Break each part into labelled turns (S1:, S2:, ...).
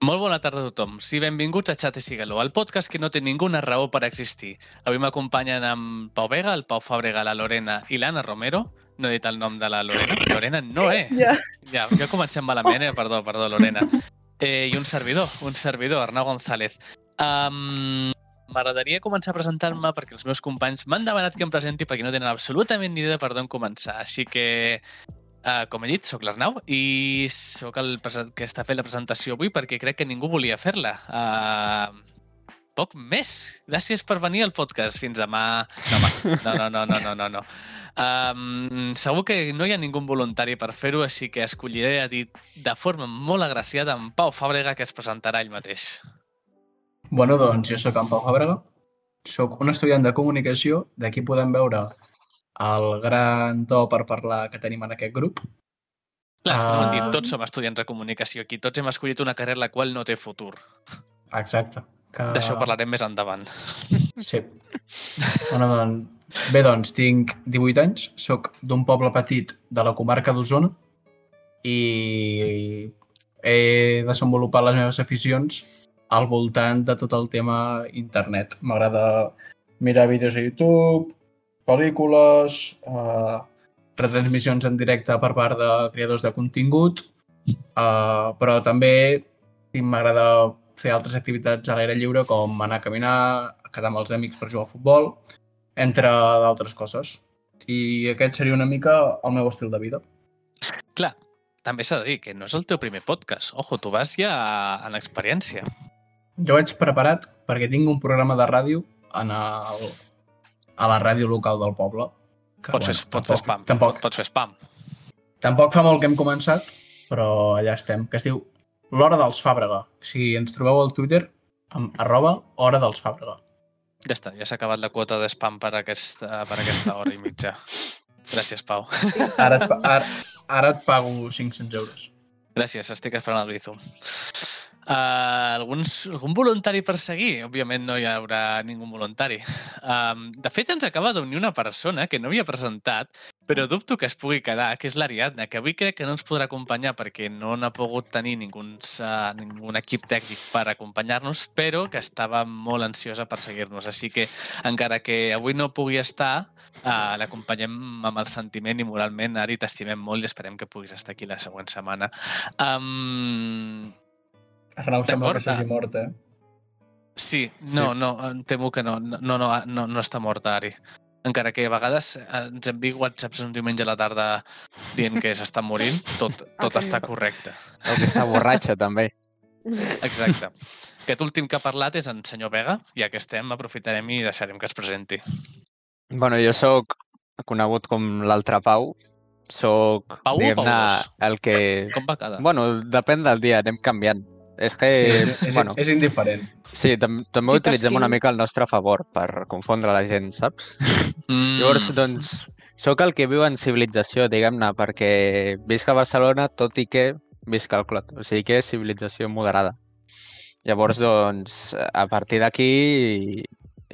S1: Molt bona tarda a tothom. Sí, benvinguts a Xat i Siguelo, el podcast que no té ninguna raó per existir. Avui m'acompanyen amb Pau Vega, el Pau Fàbrega, la Lorena i l'Anna Romero. No he dit el nom de la Lorena. Lorena no, eh?
S2: Ja.
S1: Ja, ja comencem malament, eh? Perdó, perdó, Lorena. Eh, I un servidor, un servidor, Arnau González. Um, M'agradaria començar a presentar-me perquè els meus companys m'han demanat que em presenti perquè no tenen absolutament ni idea per d'on començar. Així que, uh, com he dit, sóc l'Arnau i sóc el presen- que està fent la presentació avui perquè crec que ningú volia fer-la. Uh, poc més. Gràcies per venir al podcast. Fins demà. No, home, no, no, no, no, no, no. no. Um, segur que no hi ha ningú voluntari per fer-ho, així que escolliré a dir de forma molt agraciada en Pau Fàbrega, que es presentarà ell mateix.
S3: Bueno, doncs jo sóc en Pau Fàbrega, sóc un estudiant de comunicació, d'aquí podem veure el gran to per parlar que tenim en aquest grup.
S1: Clar, és que no ho hem dit,
S3: Ah.
S1: tots som estudiants de comunicació aquí, tots hem escollit una carrera la qual no té futur.
S3: Exacte. Que...
S1: D'això parlarem més endavant.
S3: Sí. Bueno, doncs... Bé, doncs, tinc 18 anys, sóc d'un poble petit de la comarca d'Osona i he desenvolupat les meves aficions al voltant de tot el tema internet. M'agrada mirar vídeos a YouTube, pel·lícules, eh, retransmissions en directe per part de creadors de contingut, eh, però també sí, m'agrada fer altres activitats a l'aire lliure com anar a caminar, quedar amb els amics per jugar a futbol, entre d'altres coses. I aquest seria una mica el meu estil de vida.
S1: Clar, també s'ha de dir que no és el teu primer podcast. Ojo, tu vas ja en experiència.
S3: Jo vaig preparat perquè tinc un programa de ràdio en el, a la ràdio local del poble. Que,
S1: Pots, fer, pots fer spam.
S3: Tampoc,
S1: Pots fer spam.
S3: Tampoc fa molt que hem començat, però allà estem, que es diu L'Hora dels Fàbrega. Si ens trobeu al Twitter, amb arroba Hora dels Fàbrega.
S1: Ja està, ja s'ha acabat la quota de spam per aquesta, per aquesta hora i mitja. Gràcies, Pau.
S3: Ara et, pa- ara, ara et pago 500 euros.
S1: Gràcies, estic esperant el Bizum. Uh, alguns, algun voluntari per seguir? Òbviament no hi haurà ningú voluntari. Um, de fet, ens acaba d'unir una persona que no havia presentat, però dubto que es pugui quedar, que és l'Ariadna, que avui crec que no ens podrà acompanyar perquè no n'ha pogut tenir ningun, uh, ningun equip tècnic per acompanyar-nos, però que estava molt ansiosa per seguir-nos. Així que, encara que avui no pugui estar, uh, l'acompanyem amb el sentiment i moralment. Ari, t'estimem molt i esperem que puguis estar aquí la següent setmana. Um,
S3: Arnau sembla que
S1: D'acord, ah.
S3: s'hagi mort, eh?
S1: sí, no, no, em temo que no. No, no, no, no està morta, Ari. Encara que a vegades eh, ens enviï whatsapps un diumenge a la tarda dient que s'està morint, tot, tot
S4: Ah,
S1: està correcte.
S4: O que està borratxa, també.
S1: Exacte. Aquest últim que ha parlat és en senyor Vega, ja que estem, aprofitarem i deixarem que es presenti.
S4: Bueno, jo sóc conegut com l'altre Pau. Sóc,
S1: Pau o
S4: diguem-ne,
S1: Paulós?
S4: el que...
S1: Com va quedar?
S4: Bueno, depèn del dia, anem canviant. És que,
S3: és,
S4: sí,
S3: és,
S4: Eh, bueno,
S3: és indiferent.
S4: sí, tam també ho
S2: Tipus
S4: utilitzem
S2: quin?
S4: una mica al nostre favor per confondre la gent, saps?
S1: Mm,
S4: Llavors, doncs, sóc el que viu en civilització, diguem-ne, perquè visc a Barcelona, tot i que visc al Clot. O sigui que és civilització moderada. Llavors, doncs, a partir d'aquí,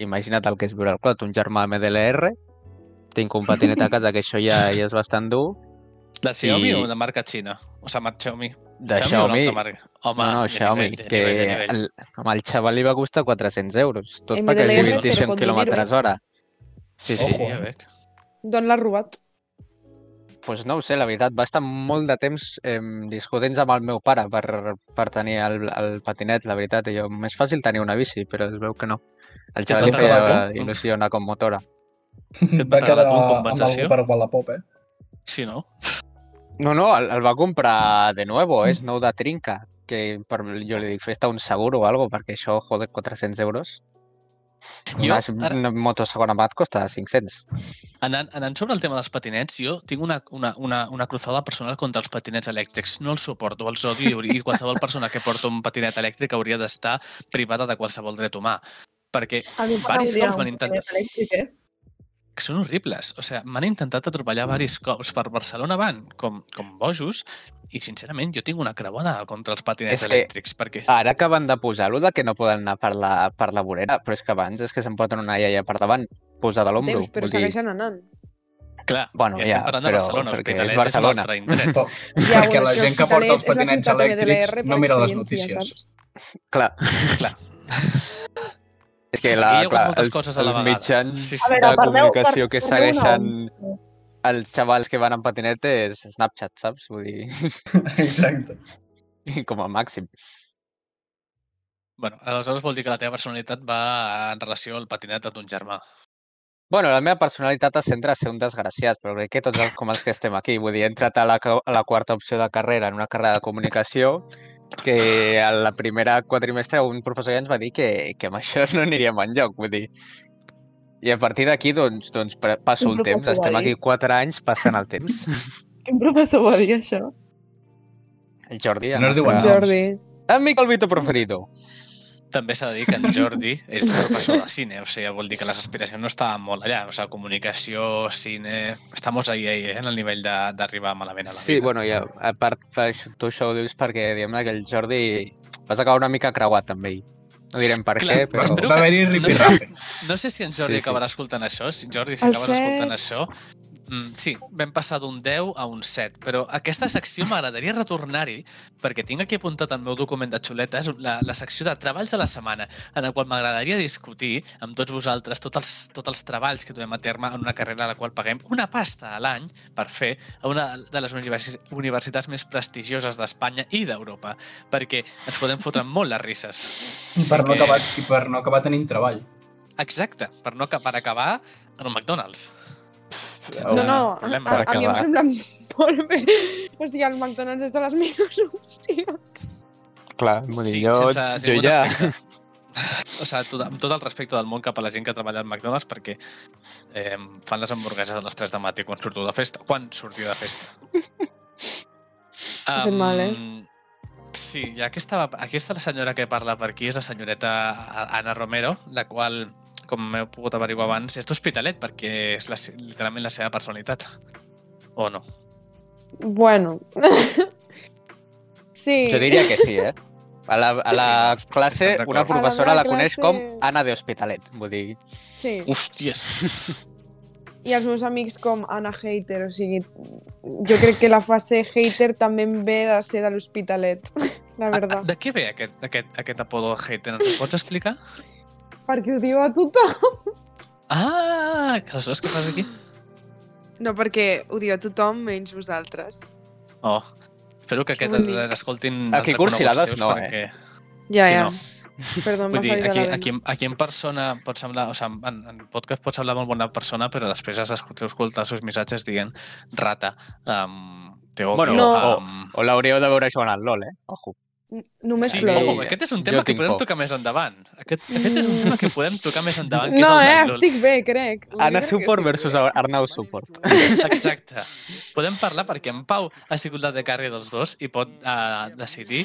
S4: imagina't el que és viure al Clot, un germà E MDLR, tinc un patinet a casa, que això ja, ja és bastant dur,
S1: De Xiaomi
S4: i-
S1: o de marca xina? O sigui, marca Xiaomi. o
S4: de
S1: una
S4: Xiaomi.
S1: altra marca? Home,
S4: No, no,
S1: de
S4: Xiaomi,
S1: nivell, de
S4: que
S1: nivell, de nivell.
S4: el, amb el xaval li va costar 400 euros, tot
S2: MDLR,
S4: perquè
S1: però
S4: viu 25
S2: con
S4: quilòmetres
S2: dinero.
S4: hora.
S1: Sí,
S4: Sí, sí,
S1: sí,
S3: Ojo,
S1: ja
S3: eh?
S1: veig.
S2: D'on l'ha robat?
S4: Pues no ho sé, la veritat, va estar molt de temps eh, discutint amb el meu pare per, per tenir el, el patinet, la veritat. I jo, més fàcil tenir una bici, però es veu que no. El xaval li
S1: va
S4: feia
S1: regalar tu?
S4: il·lusió anar com motora.
S1: Que et va quedar tu en compensació?
S3: amb algú per Wallapop, eh?
S1: Sí, no?
S4: No, no, el, el va comprar de nuevo, és nou de trinca, que per, jo li dic, fes-te un seguro o algo, perquè això, joder, 400 euros.
S1: Jo,
S4: Una,
S1: ara-
S4: una moto segona mà et costa 500.
S1: Anant, anant sobre el tema dels patinets, jo tinc una, una, una, una cruzada personal contra els patinets elèctrics. No els suporto, els odio i hauria- i qualsevol persona que porta un patinet elèctric hauria d'estar privada de qualsevol dret humà. Perquè
S2: A mi
S1: Varis
S2: m'agradaria
S1: cops
S2: un
S1: van intentar-
S2: patinet elèctric, eh?
S1: són horribles. O sigui, m'han intentat atropellar diversos cops per Barcelona van, com, com bojos, i sincerament jo tinc una creuada contra els patinets
S4: És que-
S1: elèctrics, perquè...
S4: Ara acaben de posar-ho de que no poden anar per la, per la vorera, però és que abans és que se'n porten una iaia per davant, posada a l'ombro.
S2: Temps, però
S4: vull dir,
S2: segueixen anant.
S1: Clar,
S4: Ah, Bueno,
S1: estem
S4: ja,
S1: parlant de
S4: però
S1: Barcelona,
S4: perquè és
S1: Hospitalet és,
S4: Barcelona.
S1: un altre indret.
S3: Però,
S2: Ja,
S3: Perquè la gent que porta els patinets elèctrics no mira les notícies.
S4: Clar.
S1: Clar.
S4: És que
S1: Aquí hi ha
S4: la,
S1: hagut
S4: clar,
S1: moltes
S4: els,
S1: coses a la
S4: els
S1: vegada.
S4: mitjans
S1: Sí,
S4: sí,
S1: sí.
S4: sí.
S1: A
S4: de
S1: veure,
S2: parleu-
S4: comunicació que
S2: parleu una
S4: segueixen
S2: mica.
S4: els xavals que van en patinet és Snapchat, saps? Vull dir,
S3: Exacte.
S4: com a màxim.
S1: Bueno, aleshores vol dir que la teva personalitat va en relació al patinet de ton germà.
S4: Bueno, la meva personalitat es centra a ser un desgraciat, però crec que tots els, com els que estem aquí, vull dir, he entrat a la, cau- a la quarta opció de carrera, en una carrera de comunicació, que a la primera quadrimestre un professor ja ens va dir que, que amb això no aniríem enlloc, vull dir... I a partir d'aquí, doncs, doncs pre- passo
S2: Un
S4: el temps.
S2: professor
S4: Estem
S2: va dir.
S4: aquí quatre anys passant el temps.
S2: Quin professor va dir això?
S4: El Jordi... el
S3: No es diu
S5: Doncs,
S4: nostre-
S3: Noms. Jordi.
S4: Amic el Vito preferido.
S1: També s'ha de dir que en Jordi és professor de cine, o sigui, vol dir que les aspiracions no estaven molt allà. O sigui, comunicació, cine... Estamos ahí, ahí, eh, en el nivell de- d'arribar malament a la
S4: Sí,
S1: vida.
S4: bueno, ja, a part, fa això- tu això ho dius perquè, diguem-ne, que el Jordi vas acabar una mica creuat amb ell. No direm per
S1: Clar,
S4: què, però...
S1: espero-
S3: Va haver-hi
S1: que-
S3: ripirrape.
S1: No sé si en Jordi sí,
S4: Sí, sí.
S1: acabarà escoltant això. Si Jordi, si
S5: El
S1: acabes
S5: set.
S1: escoltant això... Mm, sí, vam passar d'un 10 a un 7, però aquesta secció m'agradaria retornar-hi perquè tinc aquí apuntat al meu document de xuletes la, la secció de treballs de la setmana en la qual m'agradaria discutir amb tots vosaltres tots els, tots els treballs que duem a terme en una carrera a la qual paguem una pasta a l'any per fer a una de les universi- universitats més prestigioses d'Espanya i d'Europa, perquè ens podem fotre molt les risses.
S3: Per no
S1: que-
S3: acabar, i per no acabar tenint treball.
S1: Exacte, per no aca- per acabar en el McDonald's.
S5: No,
S1: Ah,
S5: no, a,
S1: problema.
S5: a, a mi em
S4: acabar.
S5: sembla molt bé. O sigui, el McDonald's és de les millors opcions.
S4: Clar, vull dir,
S1: Sí,
S4: jo,
S1: sense,
S4: jo
S1: sense
S4: ja...
S1: O sigui, tot, amb tot el respecte del món cap a la gent que treballa al McDonald's perquè eh, fan les hamburgueses a les 3 de matí quan surto de festa. Quan sortiu de festa.
S5: Ha fet mal, eh?
S1: Sí, i aquesta, va- aquesta la senyora que parla per aquí és la senyoreta Ana Romero, la qual, com heu pogut averiguar abans, és d'Hospitalet perquè és la, se- literalment la seva personalitat. O no?
S5: Bueno. sí.
S4: Jo diria que sí, eh? A la, a la classe,
S1: estem d'acord.
S4: una
S1: A la
S4: professora la,
S5: meva
S4: coneix
S5: classe-
S4: com Anna de Hospitalet. Vull dir,
S5: Sí.
S1: Hòsties!
S5: I els meus amics com Anna Hater, o sigui, jo crec que la fase hater també em ve de ser de l'Hospitalet, la
S1: Ah,
S5: veritat.
S1: De què ve aquest, aquest, aquest apodo hater? Ens ho pots explicar?
S5: Perquè ho diu a tothom.
S1: Ah, que aleshores què fas aquí?
S5: No, perquè ho diu a tothom menys vosaltres.
S1: Oh, espero que aquest
S5: bonic.
S1: eh, l'escoltin... els
S4: Aquí
S1: reconeguts
S4: cursilades
S1: teus
S4: no, eh.
S1: perquè,
S5: Ja,
S1: Sí,
S5: ja.
S1: no.
S5: Perdó, em
S1: Vull
S5: va
S1: dir,
S5: salir
S1: aquí,
S5: de la
S1: aquí,
S5: vena.
S1: aquí en persona pot semblar... O sigui, en, en podcast pot semblar molt bona persona, però després has d'escoltar els seus missatges dient rata, um, te odio...
S4: Bueno,
S5: No.
S1: um,
S4: o l'hauríeu de veure jugant al LOL, eh? Ojo.
S5: N- Només
S1: Sí,
S5: ploro.
S1: ojo, aquest és un tema
S4: Jo
S1: que
S4: tinc
S1: podem
S4: por.
S1: tocar més endavant. Aquest, aquest és un
S5: Mm.
S1: tema que podem tocar més endavant. Que
S5: No,
S1: és el
S5: eh,
S1: del LOL.
S5: estic bé, crec. Vull dir
S4: Anna
S5: que eh?
S4: Suport
S5: estic
S4: versus
S5: bé.
S4: Arnau Suport.
S1: Exacte. Podem parlar perquè en Pau ha sigut la de carrer dels dos i pot eh, decidir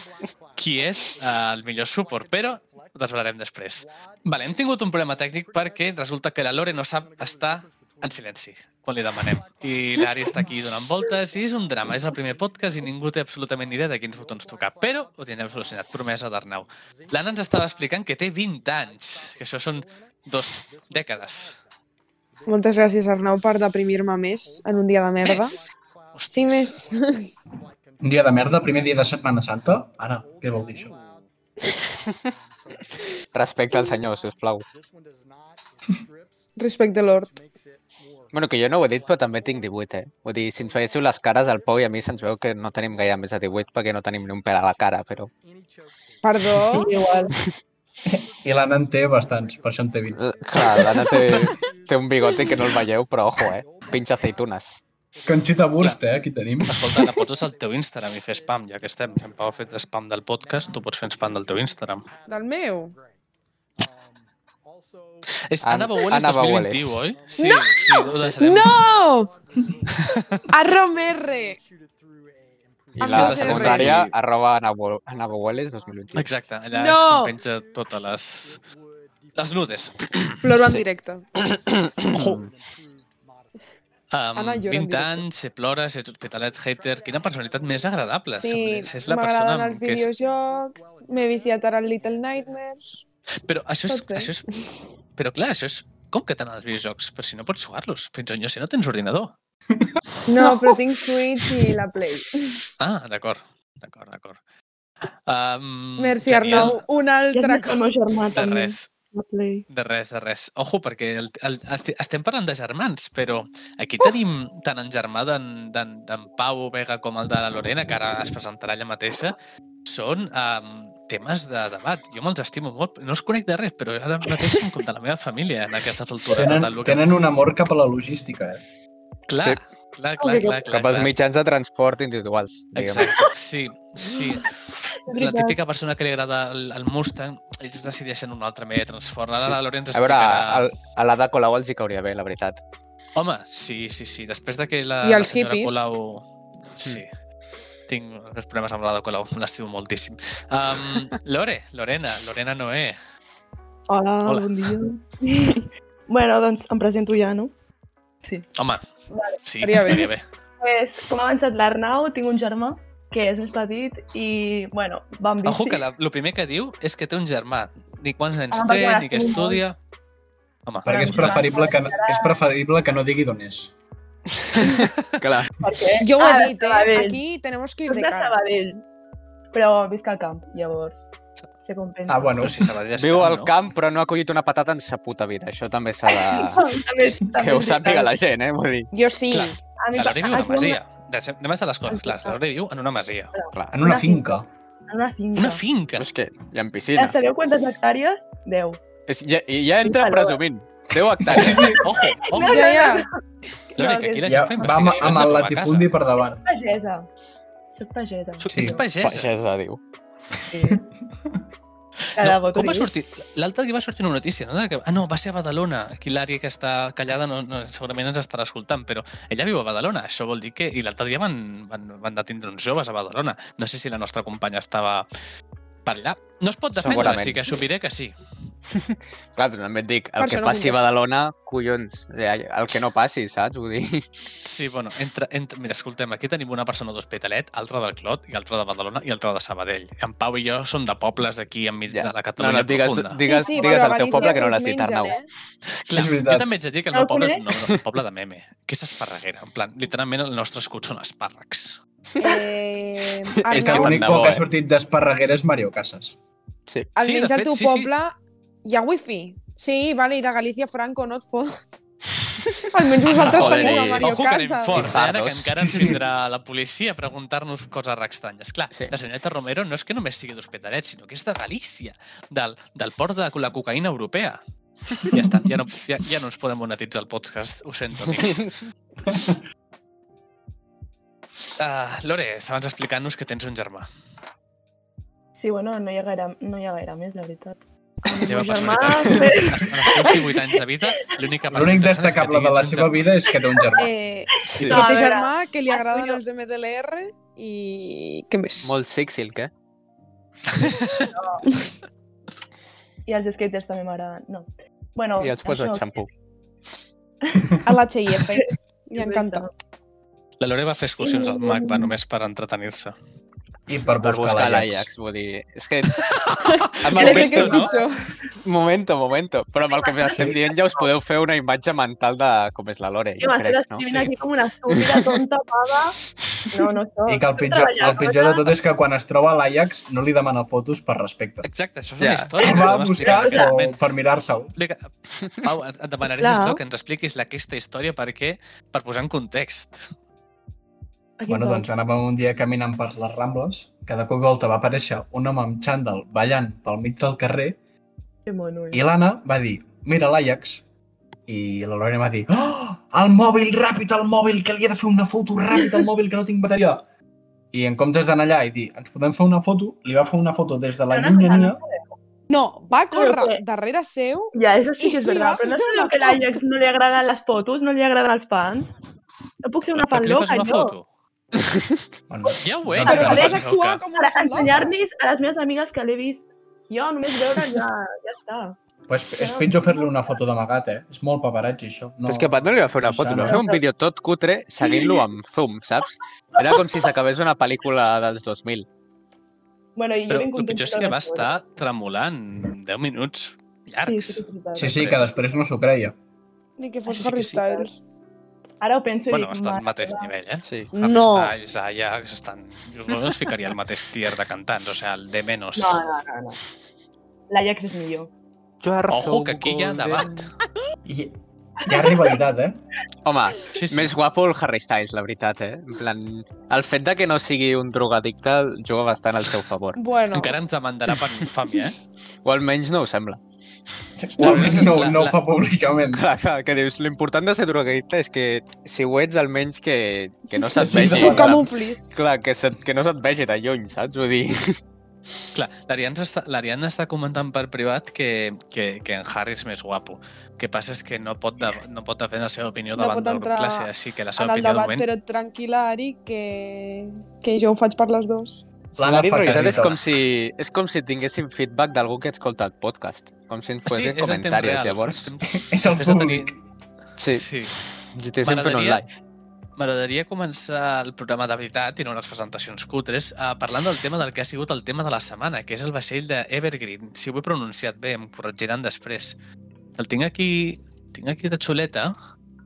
S1: qui és eh, el millor suport, però ho desvelarem després. Vale, hem tingut un problema tècnic perquè resulta que la Lore no sap estar en silenci quan li demanem. I l'Ari està aquí donant voltes i és un drama. És el primer podcast i ningú té absolutament ni idea de quins botons tocar. Però ho tindrem solucionat. Promesa d'Arnau. L'Anna ens estava explicant que té 20 anys, que això són dos dècades.
S5: Moltes gràcies, Arnau, per deprimir-me més en un dia de merda.
S1: Més?
S5: Sí, més.
S3: Un dia de merda, primer dia de Setmana Santa. Ara, què vol dir això?
S4: Respecte al senyor, si us plau.
S5: Respecte a l'hort.
S4: Bueno, que jo no ho he dit, però també tinc 18, eh? Vull dir, si ens veiéssiu les cares al Pau i a mi se'ns veu que no tenim gaire més de 18 perquè no tenim ni un pèl a la cara, però...
S5: Perdó.
S2: Igual.
S3: I l'Anna en té bastants, per això en té 20.
S4: Eh, Clar, l'Anna té, té un bigote que no el veieu, però ojo, eh? Pinxa aceitunes.
S3: Conxita Burst, eh? Aquí tenim.
S1: Escolta, ara pots usar el teu Instagram i fer spam, ja que estem. Si en Pau ha fet spam del podcast, tu pots fer spam del teu Instagram.
S5: Del meu.
S1: És
S4: An-
S1: Anna Bauer és
S4: Anna Bauer
S1: 2021, oi? Sí, no! sí, ho deixarem.
S5: No! A Romerre!
S4: I
S5: Amb
S4: la
S5: dos Rs.
S4: secundària, arroba anabogueles 2021.
S1: Exacte, allà no!
S5: No!
S1: és on penja totes les... Les nudes.
S5: Ploro en
S4: Sí.
S5: directe.
S1: Ojo. Um,
S5: Anna llora
S1: 20
S5: en directe.
S1: anys, se plora, si ets hospitalet hater, quina personalitat més agradable.
S5: Sí,
S1: Si és la persona
S5: m'agraden els
S1: que és...
S5: videojocs, m'he viciat ara el Little Nightmares.
S1: Però això és,
S5: Pot ser.
S1: això és... Però clar, això és... Com que t'agraden els videojocs? Però si no pots jugar-los, fins on jo, si no tens ordinador.
S5: No, però tinc Switch i la Play.
S1: Ah, d'acord, d'acord, d'acord. Um,
S5: Merci, Arnau. Un
S2: Ja has
S5: altre
S2: vist el
S5: cop.
S2: meu germà,
S1: De
S2: també.
S1: res,
S2: a Play.
S1: de res, de res. Ojo, perquè el, el, el, estem parlant de germans, però aquí tenim tant el germà d'en d'en- d'en Pau Vega com el de la Lorena, que ara es presentarà ella mateixa. Són um, temes de debat. Jo me'ls estimo molt. No els conec de res, però ara mateix són com de la meva família en aquestes altures. de
S3: Tenen,
S1: tal lo que-
S3: tenen un amor cap a la logística, eh?
S1: Clar,
S4: Sí.
S1: clar, clar, clar, clar.
S4: Cap als
S1: clar.
S4: mitjans de transport individuals, diguem.
S1: Exacte, sí, sí. La
S2: Veritat.
S1: típica persona que li agrada el, el Mustang, ells decideixen un altre medi de transport. Ara
S4: Sí.
S1: la Lorena ens
S4: A veure,
S1: explicarà...
S4: a, a l'Ada Colau els hi cauria bé, la veritat.
S1: Home, sí, sí, sí. Després de que la,
S5: I els
S1: la senyora
S5: hippies?
S1: Colau...
S3: Mm.
S1: Sí. Tinc uns problemes amb l'Ada Colau, l'estimo moltíssim. Um, Lore, Lorena, Lorena Noé.
S5: Ah,
S2: Hola,
S1: Hola.
S2: bon dia. bueno, doncs em presento ja, no?
S1: Home, sí,
S5: estaria bé.
S1: estaria bé.
S6: Pues, com ha avançat l'Arnau, tinc un germà que és més petit i, bueno, va amb bici.
S1: Ojo, que la, el primer que diu és que té un germà. Ni quants anys
S6: Home,
S1: té,
S6: perquè
S1: ni què
S6: l'estimo molt.
S1: estudia... Home,
S3: Perquè és preferible que, és preferible que no digui d'on és.
S4: Clar,
S6: Perquè
S5: Jo ho
S6: Ara,
S5: he dit, eh?
S6: Ah, Sabadell.
S5: Aquí tenemos que ir
S6: soc
S5: de
S6: de
S5: cara.
S6: Sabadell, però visc al camp, llavors se compensa.
S3: Ah, bueno,
S1: no, si Sabadell és
S4: viu
S1: gran,
S4: al
S1: no?
S4: camp però no ha collit una patata en sa puta vida. Això també s'ha de...
S6: A més, també
S4: Que ho
S6: és
S4: sàpiga
S6: veritat.
S4: la gent, eh? Vull dir,
S5: Jo sí.
S1: Clar.
S6: A mi
S1: La Lore
S6: pa-
S1: viu a una
S6: aquí
S1: masia. Deixem- Anem a ser les coses clares. La Lore viu en una masia.
S4: clar.
S3: en una
S6: Una
S3: finca.
S6: En una finca.
S1: Una finca.
S4: Però és que hi ha
S6: Ja
S4: piscina.
S6: sabeu quantes hectàrees? 10.
S4: És, ja, i ja entra
S6: Valora.
S4: presumint. 10 hectàrees.
S1: Ojo, ojo.
S5: Ja, ja.
S1: Lore,
S6: No,
S1: que aquí la
S3: Ja,
S1: gent fa
S3: va amb,
S1: investigació.
S3: amb
S1: de
S3: el
S1: robar
S3: latifundi per davant.
S6: Pagesa. Soc pagesa.
S1: casa.
S3: Sí.
S1: Ets pagesa.
S4: Pagesa, diu.
S6: Sí. Cada
S1: no,
S6: no,
S1: com va sortir? L'altre dia va sortir una notícia, no? De que- Ah, no, va ser a Badalona. Aquí l'àrea que està callada no, no, segurament ens estarà escoltant, però ella viu a Badalona. Això vol dir que... I l'altre dia van, van, van detindre uns joves a Badalona. No sé si la nostra companya estava per allà. No es pot defendre,
S4: Segurament.
S1: així que assumiré que sí.
S4: Clar, però també et dic, el
S5: Per
S4: que
S5: això no
S4: passi a
S5: contesta.
S4: Badalona, collons, eh, el que no passi, saps? Vull dir,
S1: Sí, bueno, entre, entre, mira, escoltem, aquí tenim una persona d'Hospitalet, altra del Clot, i altra de Badalona i altra de Sabadell. En Pau i jo som de pobles aquí enmig
S4: Ja.
S1: de la
S4: no,
S1: Catalunya
S4: no, digues,
S1: profunda.
S4: digues,
S5: sí, sí,
S4: digues
S5: però
S4: al teu
S5: Galícia
S4: poble que no
S5: se'ls
S4: l'has dit,
S5: mengen,
S4: Arnau.
S5: eh?
S1: Clar,
S3: És
S1: jo
S3: veritat.
S1: també ets a dir que el meu
S6: El
S1: poble és
S6: conec.
S1: un nom- un poble de meme, que és esparreguera. En plan, literalment el nostre escut són espàrrecs.
S5: Eh,
S3: Que
S4: És Tant
S5: Arnau,
S3: l'únic
S4: de
S3: bo
S4: bo,
S3: que
S4: eh?
S3: ha sortit d'Esparreguera és Mario Casas.
S4: Sí.
S1: Sí,
S5: almenys
S1: de
S5: al
S1: fet,
S5: teu
S1: sí, sí.
S5: poble hi ha wifi. Sí, vale, ir a Galícia, Franco, no et fot. Almenys nosaltres
S4: Joder,
S5: tenim
S4: i-
S5: una Mario
S1: Ojo que anem
S5: Casa.
S1: forts, eh, ara que
S4: Fardos.
S1: encara ens vindrà la policia a preguntar-nos coses estranyes. Clar,
S4: Sí.
S1: la senyoreta Romero no és que només sigui d'Hospitalet, sinó que és de Galícia, del, del port de la cocaïna europea. Ja està, ja no, ja, ja no ens podem monetitzar el podcast, ho sento, amics. Uh, Lore, estaves explicant-nos que tens un germà.
S6: Sí, bueno, no hi ha gaire, no hi ha gaire més, la veritat.
S1: La teva
S6: Meu germà,
S1: personalitat. En els teus 18 anys de vida, l'única persona
S3: L'únic
S1: interessant és que
S3: destacable de
S1: tinguis
S3: la
S1: un
S3: seva
S1: germà.
S3: vida és que té un germà.
S5: Eh,
S4: sí.
S5: que
S6: No, a
S5: té
S6: veure, ah,
S5: germà, que li agraden
S6: jo-
S5: els MDLR i... Què més?
S4: Molt sexy, el què?
S6: I els skaters també m'agraden. No. Bueno,
S4: I els posa
S6: això-
S4: el xampú.
S5: A l'HIF. Li
S6: És
S5: encanta.
S1: La Lore va fer excursions al MAC, va, només per entretenir-se.
S3: I per
S4: Per buscar
S3: l'Ajax.
S4: l'Ajax, vull dir... És que... Amb el
S5: No sé què
S4: resto,
S5: és
S4: no?
S5: pitjor.
S4: Momento, momento. Però amb el que estem dient ja us podeu fer una imatge mental de com és la Lore, jo
S6: Jo m'estic
S4: crec, no?
S6: escrivint aquí com una estúpida, tonta, paga. No, no soc.
S3: I que el pitjor, el pitjor de tot és que quan es troba a l'Ajax no li demana fotos per respecte.
S1: Exacte, això és
S4: Ja.
S1: una història.
S3: El
S1: que
S3: va
S1: podem
S3: a
S1: explicar
S3: buscar
S1: en aquest moment.
S3: o per mirar-se'l.
S1: Explica- Pau, et et demanaré,
S6: Clar.
S1: sisplau, que ens expliquis la- aquesta història perquè per posar en context.
S3: Bueno, doncs anàvem un dia caminant per les Rambles, que de cop i volta va aparèixer un home amb xandall ballant pel mig del carrer
S6: Que mono, eh?
S3: i l'Anna va dir, mira l'Ajax, i la Lorena va dir, oh, el mòbil, ràpid, el mòbil, que li he de fer una foto, ràpid, el mòbil, que no tinc bateria. I en comptes d'anar allà i dir, ens podem fer una foto, li va fer una foto des de la
S6: Però no
S3: llunyania.
S5: No, va córrer
S6: què?
S5: darrere seu
S6: Ja, eso sí que és
S5: I va
S6: verdad, però no
S5: fer una
S6: sé que a l'Ajax no li agraden les fotos, no li agraden els fans. No puc ser una
S1: Per
S6: fan
S1: què li fas
S6: loca,
S1: una
S6: jo.
S1: foto?
S3: Bueno,
S1: Ja ho veig.
S3: Doncs
S5: Però
S1: que
S5: si
S3: vas
S1: la
S5: has
S1: fan
S5: d'actuar
S1: loca.
S5: com
S6: Per
S5: una fan loca.
S6: ensenyar-los a les meves amigues que l'he vist. Jo només veure ja, ja està.
S3: pues és pitjor fer-li una foto d'amagat, eh? És molt paparazzi, això.
S4: Però és que Pat no li va fer una
S3: no
S4: foto, li va
S3: sana.
S4: fer un vídeo tot cutre seguint-lo amb zoom, saps? Era com si s'acabés una pel·lícula dels 2000.
S6: Bueno, i jo
S1: Però
S6: ben
S1: el
S6: contenta.
S1: pitjor és que va estar tremolant 10 minuts
S6: Sí, sí,
S1: llargs.
S6: sí, sí,
S3: Sí, sí, que després no s'ho creia.
S5: Ni que fos
S1: Sí, sí,
S5: Harry
S1: sí.
S5: Styles.
S6: Ara ho penso i
S1: Bueno,
S6: dic,
S1: està al
S6: mare
S1: mateix
S6: meva.
S1: nivell, eh?
S4: Sí.
S5: No.
S1: Hammerstyle, Zaya, que estan... Jo no els ficaria al mateix tier de cantants, o sea, el de menos.
S6: No, no, no, no. L'Ajax és millor.
S1: Ojo, que aquí hi ha debat.
S3: Hi, hi ha rivalitat, eh?
S4: Home,
S1: Sí, sí.
S4: més guapo el Harry Styles, la veritat, eh? En plan, el fet de que no sigui un drogadicte juga bastant al seu favor.
S5: Bueno,
S1: Encara ens demandarà per infàmia, eh?
S4: O almenys no ho sembla.
S1: No,
S3: No,
S1: és
S3: no,
S1: la-
S3: no ho
S1: la-
S3: fa públicament.
S4: Clar, clar, que dius, l'important de ser drogadicte és que si ho ets, almenys que, que no se't
S3: Sí,
S4: vegi.
S3: sí,
S5: tu
S3: Encara-
S4: Clar,
S5: camuflis.
S4: clar que, se't, que no se't vegi de lluny, saps? Vull dir...
S1: Clar, l'Ariadna està, l'Ariadna està comentant per privat que, que, que en Harry és més guapo. El que passa és que no pot, de, no pot defendre la seva opinió
S5: No
S1: davant
S5: pot
S1: del grup
S5: entrar
S1: classe, així que la
S5: en
S1: seva
S5: el
S1: opinió de
S5: debat,
S1: moment...
S5: però tranquil·la, Ari, que, que jo ho faig per les dues.
S3: L'Anna
S4: La
S3: fa
S4: veritat
S3: quasi
S4: és com
S3: tot.
S4: si, és com si tinguéssim feedback d'algú que escolta el podcast. Com si ens posessin
S1: és en temps
S4: comentaris,
S1: real,
S4: llavors.
S1: en temps-
S3: És el
S1: Després de tenir...
S3: públic.
S4: Sí,
S1: Sí. sí.
S4: GTSM fent un
S1: M'agradaria-
S4: live.
S1: M'agradaria començar el programa de veritat i no les presentacions cutres eh, parlant del tema del que ha sigut el tema de la setmana, que és el vaixell de Evergreen. Si ho he pronunciat bé, em corregiran després. El tinc aquí, tinc aquí de xuleta.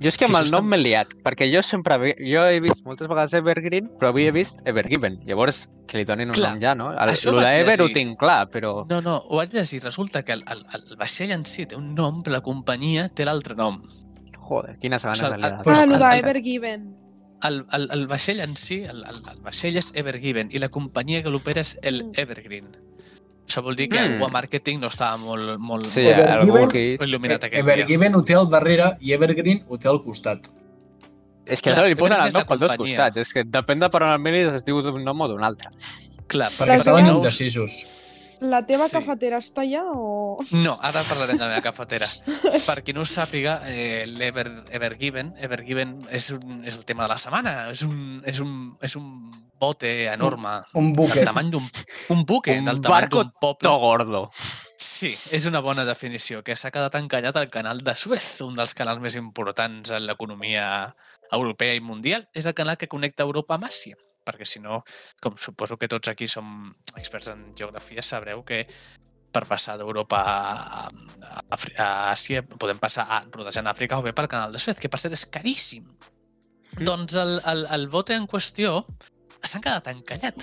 S4: Jo és que amb
S1: Que
S4: el nom
S1: s'estan-
S4: m'he liat, perquè jo sempre ve- jo he vist moltes vegades Evergreen, però havia vist Evergiven. Llavors, que li donin un
S1: Clar,
S4: nom ja, no? El,
S1: això
S4: lo
S1: vaig
S4: d'Ever ho
S1: llegir.
S4: tinc clar, però...
S1: No, no, ho vaig llegir. Resulta que el, el, el vaixell en si té un nom, però la companyia té l'altre nom.
S4: Joder, quines ganes
S1: O
S4: de
S1: sigui,
S4: liar.
S1: Pues,
S5: ah, lo
S1: el-
S5: d'Ever Given.
S1: El, el, el vaixell en si, el, el, el vaixell és Evergiven i la companyia que l'opera és el Evergreen. Això vol dir que
S4: Mm.
S1: mm. el marketing no estava molt, molt,
S4: Sí,
S1: molt
S4: algú
S3: Evergiven-
S4: aquí...
S1: il·luminat aquest dia.
S3: Evergiven ho té al Eh, darrere i Evergreen ho té al costat.
S4: És que
S1: Clar,
S4: ara li posen
S1: Evergreen
S4: el
S1: és la
S4: nom pels dos
S1: companyia.
S4: costats. És que depèn de per on el miris es diu d'un nom o d'un altre.
S1: Clar,
S3: Perquè
S5: Les
S3: estaven
S5: dues-
S3: indecisos.
S5: La teva
S1: Sí.
S5: cafetera està allà o...?
S1: No, ara parlarem de la meva cafetera. Per qui no ho sàpiga, eh, l'Ever Evergiven, Evergiven és, un, és el tema de la setmana. És un, és un, és un bote enorme.
S3: Un
S1: Del
S3: buquet.
S1: tamany d'un un buque,
S4: Un
S1: del tamany
S4: barco
S1: d'un poble.
S4: To gordo.
S1: Sí, és una bona definició, que s'ha quedat encallat al canal de Suez, un dels canals més importants en l'economia europea i mundial. És el canal que connecta Europa amb Àsia, perquè si no, com suposo que tots aquí som experts en geografia, sabreu que per passar d'Europa a, a, Afri- a Àsia podem passar a, rodejant Àfrica o bé pel canal de Suez, que per cert és caríssim.
S3: Mm.
S1: Doncs el, el, el bote en qüestió s'ha quedat encallat.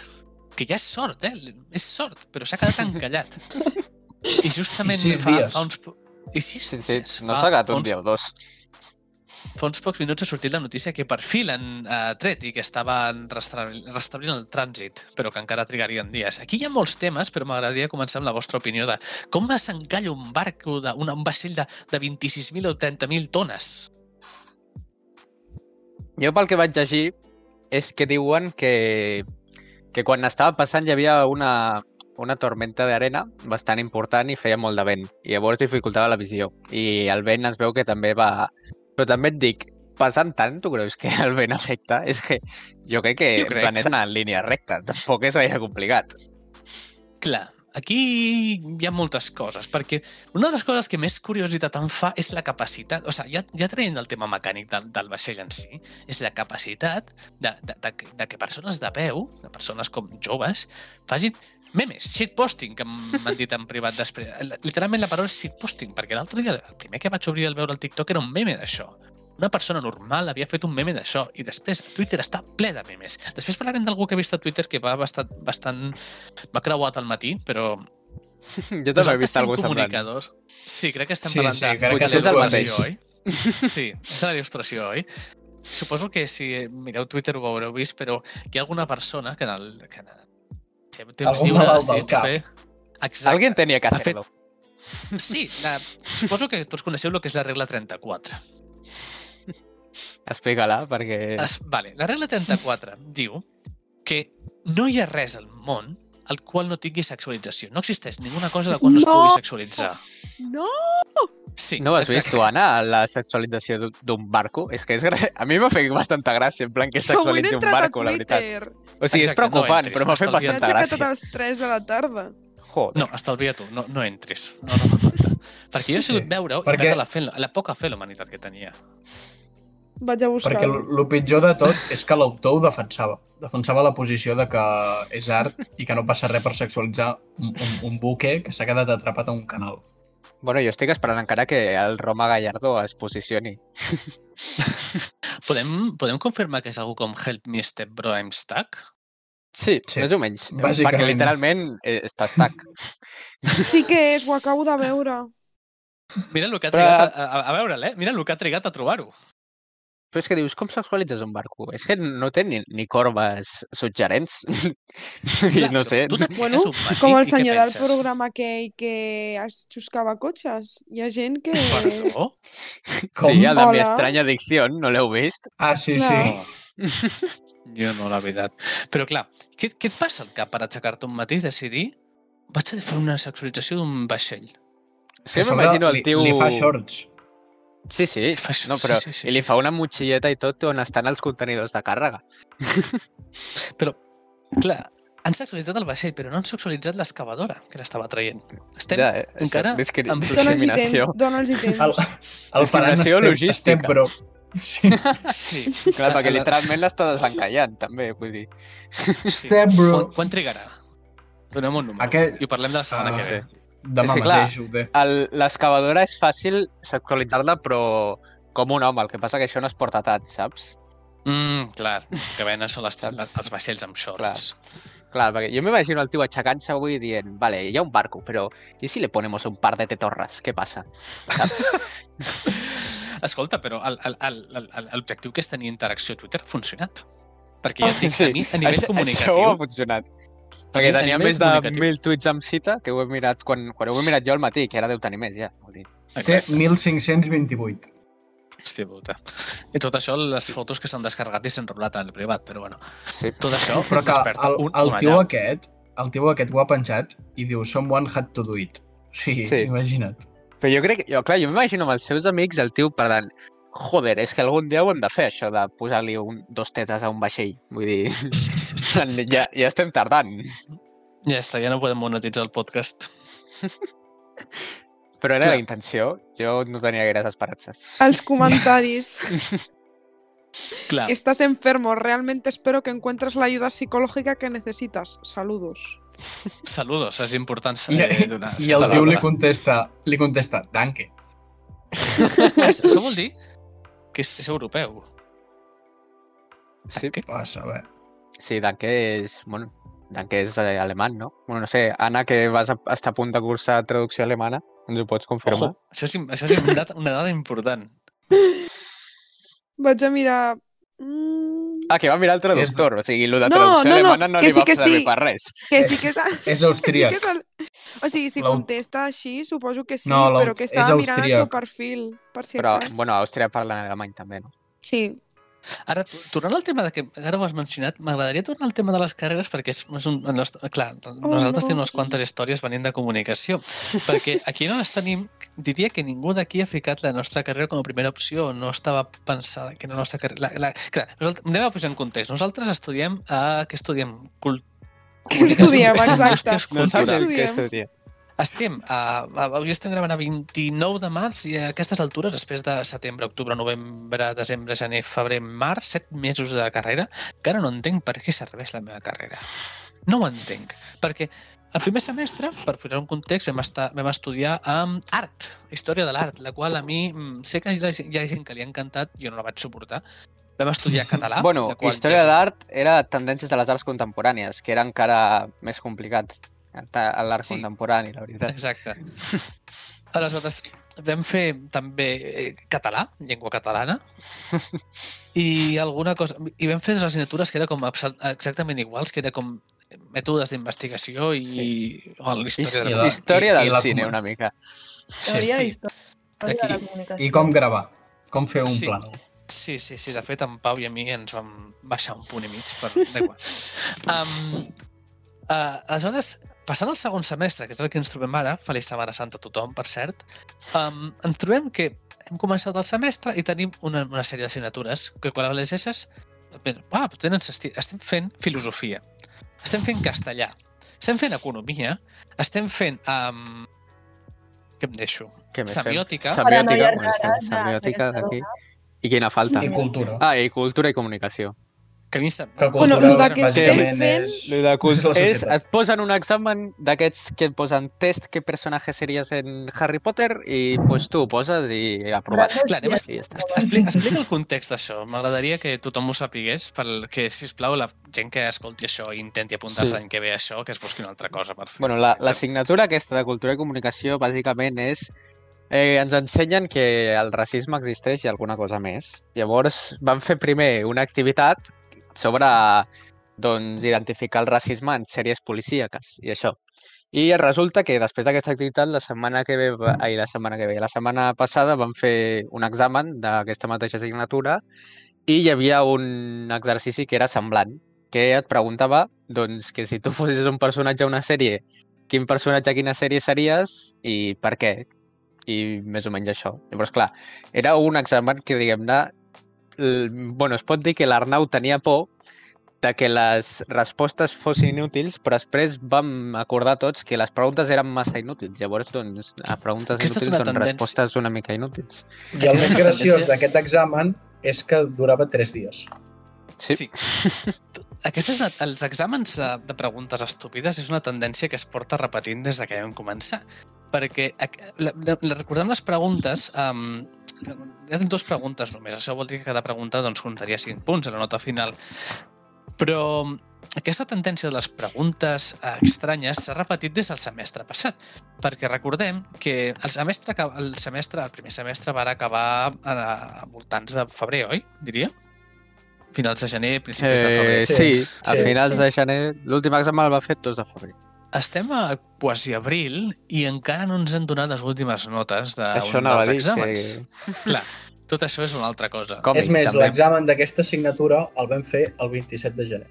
S1: Que ja és sort, eh? És sort, però s'ha quedat encallat. I justament
S3: I sis
S1: fa,
S3: dies.
S1: fa uns... po- I sis
S4: Sí, sí,
S1: dies,
S4: no
S1: fa-
S4: s'ha quedat
S1: fa
S4: un
S1: uns-
S4: dia o dos.
S1: Fa uns pocs minuts ha sortit la notícia que per fi l'han eh, tret i que estaven restabli- restablint el trànsit, però que encara trigarien dies. Aquí hi ha molts temes, però m'agradaria començar amb la vostra opinió de com va s'encalla un barc, o de, una, un vaixell de, de 26.000 o 30.000 tones.
S4: Jo pel que vaig llegir és que diuen que, que quan estava passant hi havia una, una tormenta d'arena bastant important i feia molt de vent. I llavors dificultava la visió. I el vent es veu que també va... Però també et dic, passant tant, tu creus que el vent afecta? És que jo crec que
S1: Jo
S4: jo
S1: crec.
S4: crec. és una línia recta, tampoc és gaire complicat.
S1: Clar, aquí hi ha moltes coses, perquè una de les coses que més curiositat em fa és la capacitat, o sigui, ja, ja traient del tema mecànic del, del vaixell en si, és la capacitat de, de, de, que- de que persones de peu, de persones com joves, facin memes, shitposting, que m- m'han dit en privat després. L- Literalment la paraula és shitposting, perquè l'altre dia, el primer que vaig obrir el veure el TikTok era un meme d'això. Una persona normal havia fet un meme d'això i després Twitter està ple de memes. Després parlarem d'algú que he vist a Twitter que va bastant, bastant m'ha creuat al matí, però...
S4: Jo també he vist
S1: Nosaltres
S4: algú
S1: som
S4: semblant.
S1: comunicadors. Sí, crec que estem
S3: Sí,
S1: parlant
S3: sí,
S1: de...
S3: crec
S1: de
S4: que és el
S1: il·lustració,
S4: mateix.
S1: Oi? Sí, és de la il·lustració, oi? Suposo que si mireu Twitter ho haureu vist, però hi ha alguna persona que en el... Que en el té temps
S3: Algun
S1: lliure ha
S3: malalt del
S1: decidit
S3: cap.
S1: fer... Exacte.
S4: Alguien tenia que
S1: Ha fet-
S4: fer-lo.
S1: Sí, la... suposo que tots coneixeu el que és la regla 34.
S4: Explica-la, perquè...
S1: Es, vale, la regla 34 diu que no hi ha res al món al qual no tingui sexualització. No existeix ninguna cosa a la qual no, es
S5: No!
S1: pugui sexualitzar.
S5: No!
S1: Sí,
S4: No ho has vist,
S1: exacte.
S4: tu, Anna, la sexualització d'un- d'un barco? És que és gra... a mi m'ha fet bastanta gràcia, en plan, que
S5: Avui
S4: sexualitzi
S5: he
S4: un
S5: entrat a
S4: barco, la veritat.
S5: Twitter.
S4: O sigui, és
S1: Exacte, no
S4: preocupant,
S1: entris,
S4: però m'ha fet
S1: estalvia't.
S5: M'he
S1: Tanta
S4: bastanta
S5: aixecat a
S4: gràcia.
S5: les 3 de la tarda.
S4: Joder.
S1: No, estalvia tu, no, no entris. No, no fa falta. Perquè jo he sigut
S3: Sí,
S1: veure-ho i
S3: perquè-
S1: perdre la, fe, la poca fe en la humanitat que tenia.
S5: Vaig a
S3: Perquè
S5: buscar-ho.
S3: el pitjor de tot és que l'autor ho defensava. Defensava la posició de que és art i que no passa res per sexualitzar un, un, un buque que s'ha quedat atrapat a un canal.
S4: Bueno, jo estic esperant encara que el Roma Gallardo es posicioni.
S1: Podem, podem confirmar que és algú com Help Me Step Bro I'm Stuck?
S4: Sí,
S3: Sí,
S4: més o menys. Perquè
S3: bàsicament.
S4: literalment eh, està estac.
S5: Sí que és, ho acabo de veure.
S1: Mira el que ha
S4: Però-
S1: trigat a, a, a veure'l, eh? Mira el que ha trigat a trobar-ho.
S4: Però és que dius, com sexualitzes un barco? És que no té ni, ni corbes suggerents. I
S1: Clar,
S4: no sé.
S1: tu t'aixeques
S5: Bueno,
S1: un matí
S5: Com
S1: i
S5: el
S1: què
S5: senyor del
S1: penses?
S5: programa aquell que es xuscava cotxes. Hi ha gent que...
S1: Perdó?
S4: Sí, el de mi
S5: Hola.
S4: estranya addicció, no l'heu vist?
S3: Ah, sí,
S5: Clar.
S3: sí.
S1: Jo no, la veritat. Però clar, què, què et passa al cap per aixecar-te un matí i decidir vaig a fer una sexualització d'un vaixell?
S4: És que
S3: A sobre
S4: m'imagino el
S3: li-
S4: tio...
S3: Li fa shorts.
S4: Sí, sí.
S1: Li fa shorts,
S4: No, però...
S1: sí, sí, sí,
S4: I li
S1: sí.
S4: fa una motxilleta i tot on estan els contenidors de càrrega.
S1: Clar, han sexualitzat el vaixell, però no han sexualitzat l'excavadora que l'estava traient. Estem...
S4: Ja,
S1: Ja.
S4: eh, això,
S1: encara
S4: discri-
S1: amb
S5: Dóna'ls-hi temps,
S4: discriminació.
S5: dóna'ls-hi
S3: El,
S5: temps.
S3: el
S4: Discriminació logística.
S3: però... Sí.
S1: Sí,
S4: Clar, perquè literalment l'està desencallant, també, vull dir.
S1: sí.
S3: Step, bro.
S1: Quan, quan trigarà? Donem un número.
S3: Aquest-
S1: I ho parlem de la setmana
S3: Ah,
S1: que ve.
S3: Demà
S4: És que, clar,
S3: mateix ho té.
S4: El- L'excavadora és fàcil sexualitzar-la, però com un home. El que passa que això no es porta tant, saps?
S1: Mm, clar, el que venen són les,
S4: Saps?
S1: les, els vaixells amb shorts.
S4: Clar, perquè jo m'imagino el tio aixecant-se avui dient vale, hi ha un barco, però i si le ponemos un par de tetorras? Què passa?
S1: Escolta, però el- el- el- el- el- l'objectiu que és tenir interacció a Twitter ha funcionat. Perquè ja et dic,
S4: Sí,
S1: a mi, a nivell
S4: això,
S1: comunicatiu...
S4: Això ha funcionat. Perquè
S1: nivell- a
S4: tenia
S1: nivell
S4: més de
S1: comunicatiu.
S4: mil tuits amb cita, que ho he mirat quan, quan ho he mirat jo al matí, que ara deu tenir més, ja. Vull dir.
S3: Té
S1: Exacte.
S3: 1.528.
S1: Hòstia puta. I tot això, les fotos que s'han descarregat i s'han rolat al privat, però bueno.
S4: Sí.
S1: Tot això
S3: Però que
S1: desperta
S3: el,
S1: un,
S3: el
S1: una
S3: tio
S1: llar.
S3: aquest, el tio aquest ho ha penjat i diu someone had to do it. O sigui,
S4: Sí.
S3: sí. imagina't.
S4: Però jo crec que, jo, clar, jo m'imagino amb els seus amics el tio parlant joder, és que algun dia ho hem de fer, això de posar-li un, dos tetes a un vaixell. Vull dir, ja, ja estem tardant.
S1: Ja està, ja no podem monetitzar el podcast.
S4: Però era
S1: Clar.
S4: la intenció. Jo no tenia gaires esperances.
S5: Els comentaris.
S1: Clar,
S5: Estás enfermo. Realmente espero que encuentres la ayuda psicológica que necesitas. Saludos.
S1: saludos, és important
S3: I,
S1: eh, donar.
S3: i el
S4: saluda.
S3: tio li contesta, li contesta, danke.
S1: Això vol dir que és, és europeu.
S4: Sí,
S1: Què?
S3: Vas a veure.
S4: sí Danke és... Bueno, Danke és eh, alemany, no? Bueno, no sé, Anna, que vas a, estar a punt de cursar traducció alemana, ens ho pots confirmar?
S1: Ojo, això és, im- això és una, dada, una dada important.
S5: Vaig a mirar... Mm,
S4: Ah, que va mirar el traductor, o sigui, el de
S5: No,
S4: traducció
S5: no, no,
S4: alemana no,
S5: que
S4: li
S5: sí,
S4: va
S5: que
S4: servir
S5: sí.
S4: per res.
S5: que sí que és...
S3: És
S5: Que sí que
S3: austríac.
S5: és el... O sigui, si
S3: L'au-
S5: contesta així, suposo que sí,
S3: No, l'au-
S5: però que
S3: és
S5: estava mirant el seu
S3: austríac.
S5: perfil, per si
S4: Però,
S5: acas.
S4: bueno, a Àustria parlen alemany també, no?
S5: Sí.
S1: Ara, to- tornant al tema de que ara ho has mencionat, m'agradaria tornar al tema de les carreres perquè és, és un... El nostre, clar, nosaltres
S5: no.
S1: tenim unes quantes històries venint de comunicació, perquè aquí no les tenim... Diria que ningú d'aquí ha ficat la nostra carrera com a primera opció, no estava pensada que la nostra carrera... La, la, clar, nosaltres, anem a posar en context. Nosaltres estudiem... A, què estudiem? Cult
S5: Què estudiem, exacte?
S1: Indústries
S4: No saps
S1: culturals.
S4: el que
S5: Estudiem.
S4: estudia.
S1: Estem, a, eh, a, avui estem gravant a 29 de març i a aquestes altures, després de setembre, octubre, novembre, desembre, gener, febrer, març, 7 mesos de carrera, que ara no entenc per què serveix la meva carrera. No ho entenc, perquè el primer semestre, per posar un context, vam, estar, vam estudiar amb art, història de l'art, la qual a mi mm, sé que hi ha, hi ha gent que li ha encantat, jo no la vaig suportar. Vam estudiar català.
S4: Bueno,
S1: la qual ja
S4: història
S1: és-
S4: d'art era tendències de les arts contemporànies, que era encara més complicat ta- a l'art
S1: Sí.
S4: contemporani, la veritat.
S1: Exacte. Aleshores, vam fer també eh, català, llengua catalana, i alguna cosa... I vam fer les assignatures que era com absal- exactament iguals, que era com mètodes d'investigació i sí. o l'història de
S3: I
S1: la...
S3: la-
S4: Història
S3: i-
S4: del
S3: i la
S4: cine,
S3: comu-
S4: una mica.
S6: Teoria
S1: sí.
S6: i història de la
S1: D'aquí.
S6: comunicació.
S3: I com gravar? Com fer un
S1: Sí.
S3: sí. plànol?
S1: Sí, sí, sí. De fet, en Pau i a mi ens vam baixar un punt i mig, però da igual. Um, uh, aleshores, passant al segon semestre, que és el que ens trobem ara, Feliç Setmana Santa a tothom, per cert, um, ens trobem que hem començat el semestre i tenim una, una sèrie d'assignatures que quan les llegeixes bé, ah, però tenen sentit. estem fent filosofia, estem fent castellà, estem fent economia, estem fent... Um, què em deixo?
S4: Què més fem?
S1: Semiòtica.
S4: Semiòtica,
S6: Paranoia
S4: bueno,
S6: rara,
S4: semiòtica
S6: ja,
S4: d'aquí. I quina falta?
S3: I cultura.
S4: Ah, i cultura i comunicació.
S1: camisa...
S3: Que
S5: Bueno,
S3: cultura,
S5: lo de que estem
S3: bàsicament,
S5: fent-
S3: és-
S4: Lo de cus
S3: és la
S4: és,
S3: societat.
S4: et posen un examen d'aquests que et posen test qué personaje series en Harry Potter i pues, tu ho poses i aprovat.
S1: Clar, anem a-
S4: I ja està.
S1: Explica, explica el context d'això. M'agradaria que tothom ho sapigués, perquè, si us plau, la gent que escolti això i intenti apuntar-se
S4: Sí.
S1: sí. en què ve això, que es busqui una altra cosa per fer.
S4: Bueno, la, l'assignatura aquesta de Cultura i Comunicació bàsicament és... Eh, ens ensenyen que el racisme existeix i alguna cosa més. Llavors vam fer primer una activitat sobre doncs, identificar el racisme en sèries policíaques i això. I resulta que després d'aquesta activitat, la setmana que ve, va- ai, la setmana que ve, la setmana passada vam fer un examen d'aquesta mateixa assignatura i hi havia un exercici que era semblant, que et preguntava doncs, que si tu fossis un personatge a una sèrie quin personatge a quina sèrie series i per què. I més o menys això. Llavors, clar, era un examen que, diguem-ne, l- bueno, es pot dir que l'Arnau tenia por de que les respostes fossin inútils, però després vam acordar tots que les preguntes eren massa inútils. Llavors, doncs, a preguntes
S1: Aquesta és
S4: inútils,
S1: una
S4: doncs,
S1: tendència-
S4: respostes una mica inútils.
S3: I el més graciós d'aquest examen és que durava tres dies.
S4: Sí.
S1: Sí. Aquestes, els exàmens eh, de preguntes estúpides és una tendència que es porta repetint des de que vam començar. Perquè, ac- la, la, la, recordant les preguntes, um, eren dues preguntes només. Això vol dir que cada pregunta doncs, comptaria 5 punts a la nota final. Però mm, aquesta tendència de les preguntes eh, estranyes s'ha repetit des del semestre passat, perquè recordem que el semestre, que- el, semestre, el primer semestre va acabar a, a voltants de febrer, oi? Diria? Finals de gener, principis de febrer.
S4: Eh, sí, a
S3: Sí,
S4: finals
S2: sí.
S4: de gener. L'últim examen el va fer 2 de febrer.
S1: Estem a quasi abril i encara no ens han donat les últimes notes d'un
S4: Això anava a
S1: dels
S4: dir
S1: exàmens.
S4: que...
S1: Que... Clar, tot això és una altra cosa. Com?
S4: Còmic,
S3: és més,
S4: també.
S3: l'examen d'aquesta assignatura el vam fer el 27 de gener.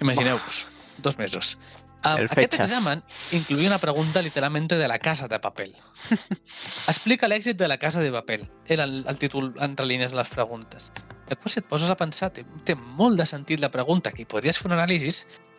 S1: Imagineu-vos, dos mesos. Um,
S4: El
S1: aquest
S4: fetges.
S1: examen incluïa una pregunta literalmente de la casa de papel. Explica l'èxit de la casa de papel. Era el, el títol entre línies de les preguntes. Després, si et poses a pensar, té, té molt de sentit la pregunta, que hi podries fer un anàlisi,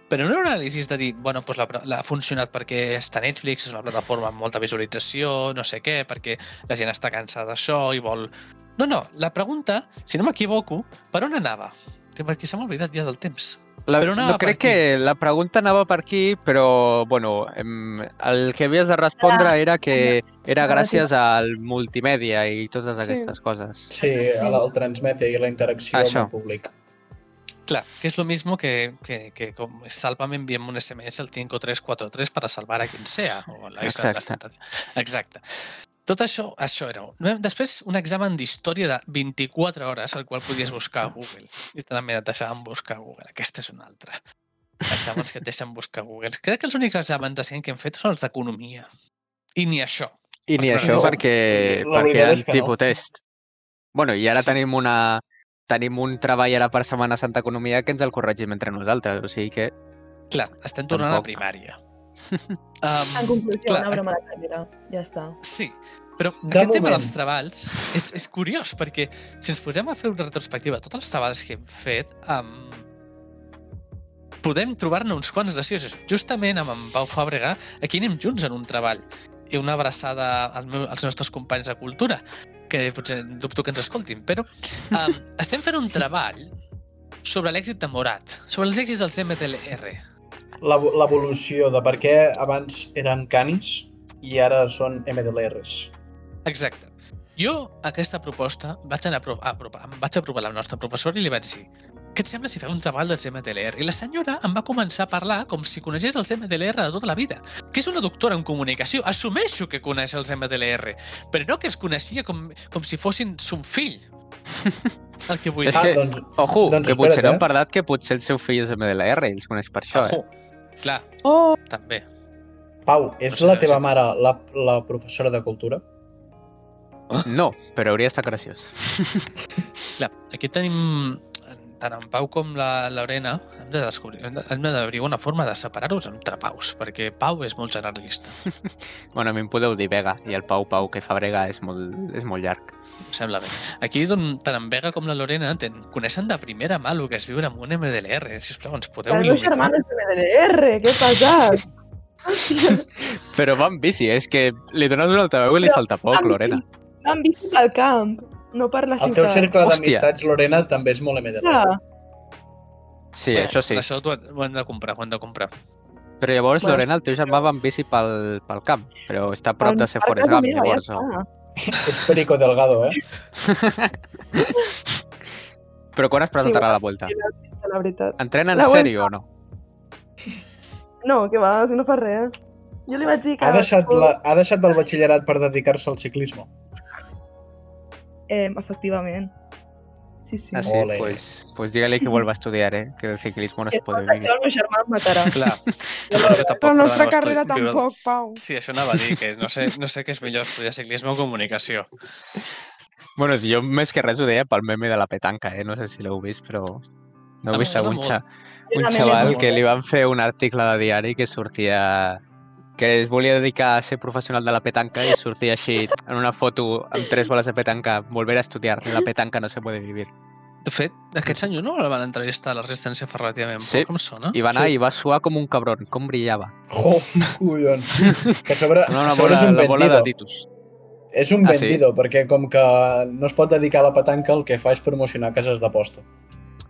S1: però no era un anàlisi de dir, bueno, doncs la, pre- la ha funcionat perquè està a Netflix, és una plataforma amb molta visualització, no sé què, perquè la gent està cansada d'això i vol... No, no, la pregunta, si no m'equivoco, per on anava? Perquè se m'ha oblidat ja del temps.
S4: La,
S1: Però anava
S4: no, crec
S1: per aquí.
S4: que la pregunta anava per aquí, però bueno, em, el que havies de respondre era que era
S6: Anava
S4: gràcies al multimèdia i totes
S5: Sí.
S4: aquestes coses.
S3: Sí, el, el transmèdia i la interacció
S4: Això.
S3: amb el públic.
S1: Claro, que es lo mismo que, que, que con- sálvame, envíame un SMS al 5343 para salvar a quien sea. O la isla de les
S4: Exacte.
S1: tentacions. Exacte. Tot això, això era. un- Després, un examen d'història de 24 hores, el qual podies buscar a Google. Literalment et deixaven buscar a Google. Aquesta és una altra. Exàmens que et deixen buscar a Google. Crec que els únics exàmens de cent que hem fet són els d'economia. I ni això.
S4: I ni
S1: Però
S4: això
S1: no,
S4: perquè,
S3: la veritat
S4: perquè
S3: és
S4: eren
S3: que no.
S4: tipus test. Bueno, i ara
S1: Sí.
S4: tenim una tenim un treball ara per Setmana Santa Economia que ens el corregim entre nosaltres, o sigui que...
S1: Clar, estem tornant
S4: Tampoc.
S1: a primària. Um,
S6: En conclusió,
S1: clar,
S6: una broma de carrera. Ja està.
S1: Sí, però aquest
S3: De
S1: tema
S3: moment.
S1: dels treballs és, és curiós, perquè si ens posem a fer una retrospectiva de tots els treballs que hem fet, um, podem trobar-ne uns quants graciosos. Justament amb en Pau Fàbrega, aquí anem junts en un treball i una abraçada al meu, als nostres companys de cultura, que potser dubto que ens escoltin, però um, estem fent un treball sobre l'èxit de Morat, sobre els èxits dels MTLR.
S3: L'evo- L'evolució de per què abans eren canis i ara són MDLRs.
S1: Exacte. Jo, aquesta proposta, vaig anar a pro- a apropar, em vaig aprovar la nostra professora i li vaig dir què et sembla si fem un treball dels MDLR? I la senyora em va començar a parlar com si coneixés els MDLR de tota la vida, que és una doctora en comunicació. Assumeixo que coneix els MDLR, però no que els coneixia com, com si fossin son fill. El que vull dir.
S4: És
S3: Ah,
S4: que-
S3: doncs,
S4: Ojo,
S3: Doncs
S4: que potser
S3: espera't,
S4: no
S3: eh? Ah,
S4: hem parlat que potser el seu fill és MDLR i els coneix per això, eh?
S1: Ojo. Clar,
S5: Oh,
S1: també.
S3: Pau, és
S1: Però
S3: la
S1: sí,
S3: teva
S1: sí.
S3: mare la, la professora de cultura?
S4: No, però hauria estat graciós.
S1: Clar, aquí tenim tant en Pau com la Lorena hem de descobrir, hem de- hem d'abrir una forma de separar-los entre Paus, perquè Pau és molt generalista.
S4: Bueno, a mi em podeu dir Vega i el Pau Pau que Fabrega és molt, és molt llarg.
S1: Em sembla bé. Aquí, doncs, tant en Vega com la Lorena ten, coneixen de primera mà el que és viure amb un MDLR. eh, Si us plau, ens podeu
S6: Els meus
S1: il·luminar.
S6: germans de MDR, què pesat!
S4: Però va en bici, eh? és que li dones un altaveu i li
S6: Però
S4: falta poc,
S6: amb
S4: Lorena.
S6: Van bici pel camp, no per la
S3: El teu
S6: ciutat.
S3: cercle
S4: Hòstia.
S3: d'amistats, Lorena, també és molt MDLR.
S6: Clar,
S4: Sí, això sí.
S1: Això t'ho ho hem de comprar, ho hem de comprar.
S4: Però llavors,
S2: Bueno.
S4: Lorena, el teu germà va amb bici pel, pel camp, però està a prop de ser
S2: Al
S4: Forrest
S2: casa
S4: Gump,
S2: meva, ja
S4: llavors.
S2: està.
S4: no?
S3: És Perico Delgado, eh?
S4: Però quan es presentarà
S2: va.
S4: la volta?
S2: La veritat.
S4: Entrena en
S2: La Vuelta.
S4: sèrio o no?
S2: No, que va, si no fa res.
S6: Jo li vaig dir que...
S3: Ha deixat, la, ha deixat el batxillerat per dedicar-se al ciclisme.
S6: Eh, efectivament. Sí, sí.
S4: Ah, sí?
S3: Ole.
S4: Pues, pues digue-li que vuelva a estudiar, eh? Que el ciclisme no es pot
S6: Això
S4: vivir.
S6: el meu germà em matarà.
S1: Clar. jo tampoc,
S5: La
S1: perdó,
S5: nostra
S1: no estoy-
S5: carrera
S1: viure-
S5: tampoc, Pau.
S1: Sí, això anava a dir, que no sé, no sé què és millor, estudiar ciclisme o comunicació.
S4: Bueno, si jo més que res ho deia pel meme de la petanca, eh? No sé si l'heu vist, però... No
S1: Em
S4: heu vist
S1: sona
S4: un,
S1: molt.
S4: xa,
S6: Jo
S4: un
S6: també
S4: xaval
S6: vaig-
S4: que li van fer un article de diari que sortia que es volia dedicar a ser professional de la petanca i sortia així en una foto amb tres boles de petanca, volver a estudiar, la petanca no se puede vivir.
S1: De fet, aquest senyor no el van entrevistar a la resistència fa relativament
S4: Sí.
S1: poc, em sona.
S4: I va anar
S3: Sí.
S4: i va suar com un cabrón, com brillava.
S3: Oh, collons. Que a sobre,
S4: No,
S3: a
S4: una
S3: sobre
S4: bola,
S3: és un
S4: la bola de
S3: vendido.
S4: Titus.
S3: És un
S4: Ah, sí?
S3: vendido, perquè com que no es pot dedicar a la petanca, el que fa és promocionar cases d'aposta.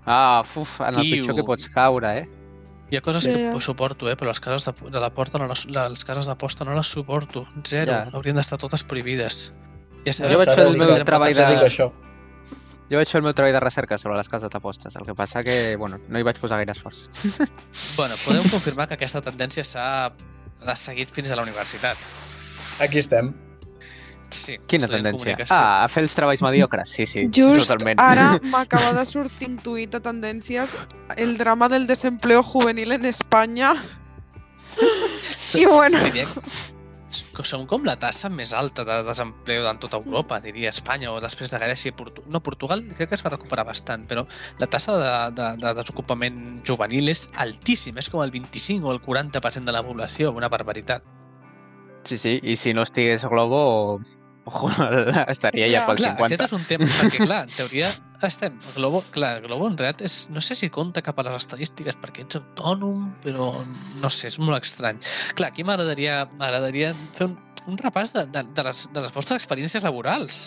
S4: Ah, fuf, en el pitjor que
S1: Iu.
S4: pots caure, eh?
S1: Hi ha coses
S5: Ja,
S1: que
S5: ja.
S1: suporto, eh? però les cases de, de la porta no les, la- les cases d'aposta no les suporto. Zero.
S4: Ja.
S1: Haurien d'estar totes prohibides. Ja
S4: Jo vaig
S3: Ara
S4: fer el
S3: dic-
S4: meu
S3: ara
S4: treball
S3: dic
S4: de-
S3: Això.
S4: Jo vaig fer el meu treball de recerca sobre les cases d'apostes, el que passa que, bueno, no hi vaig posar gaire esforç.
S1: Bueno, podeu confirmar que aquesta tendència s'ha l'ha seguit fins a la universitat.
S3: Aquí estem.
S1: Sí,
S4: Quina
S1: estudiant
S4: tendència?
S1: comunicació.
S4: Ah, a fer els treballs mediocres, sí, sí,
S5: Just
S4: totalment.
S5: ara m'acaba de sortir un tuit a tendències el drama del desempleo juvenil en Espanya. I bueno,
S1: Diria eh, que som com la tassa més alta de desempleo en tota Europa, diria Espanya, o després de Grècia i Portugal. No, Portugal crec que es va recuperar bastant, però la tassa de, de, de desocupament juvenil és altíssima, és com el 25 o el 40% de la població, una barbaritat.
S4: Sí, sí, i si no estigués Globo, ojo, estaria ja
S5: Ja,
S4: pel
S1: clar, aquest
S4: 50.
S1: és un tema, perquè clar, en teoria estem... Globo, clar, Globo en realitat és, no sé si compta cap a les estadístiques perquè ets autònom, però no sé, és molt estrany. Clar, aquí m'agradaria m'agradaria fer un, un repàs de, de, de, les, de les vostres experiències laborals.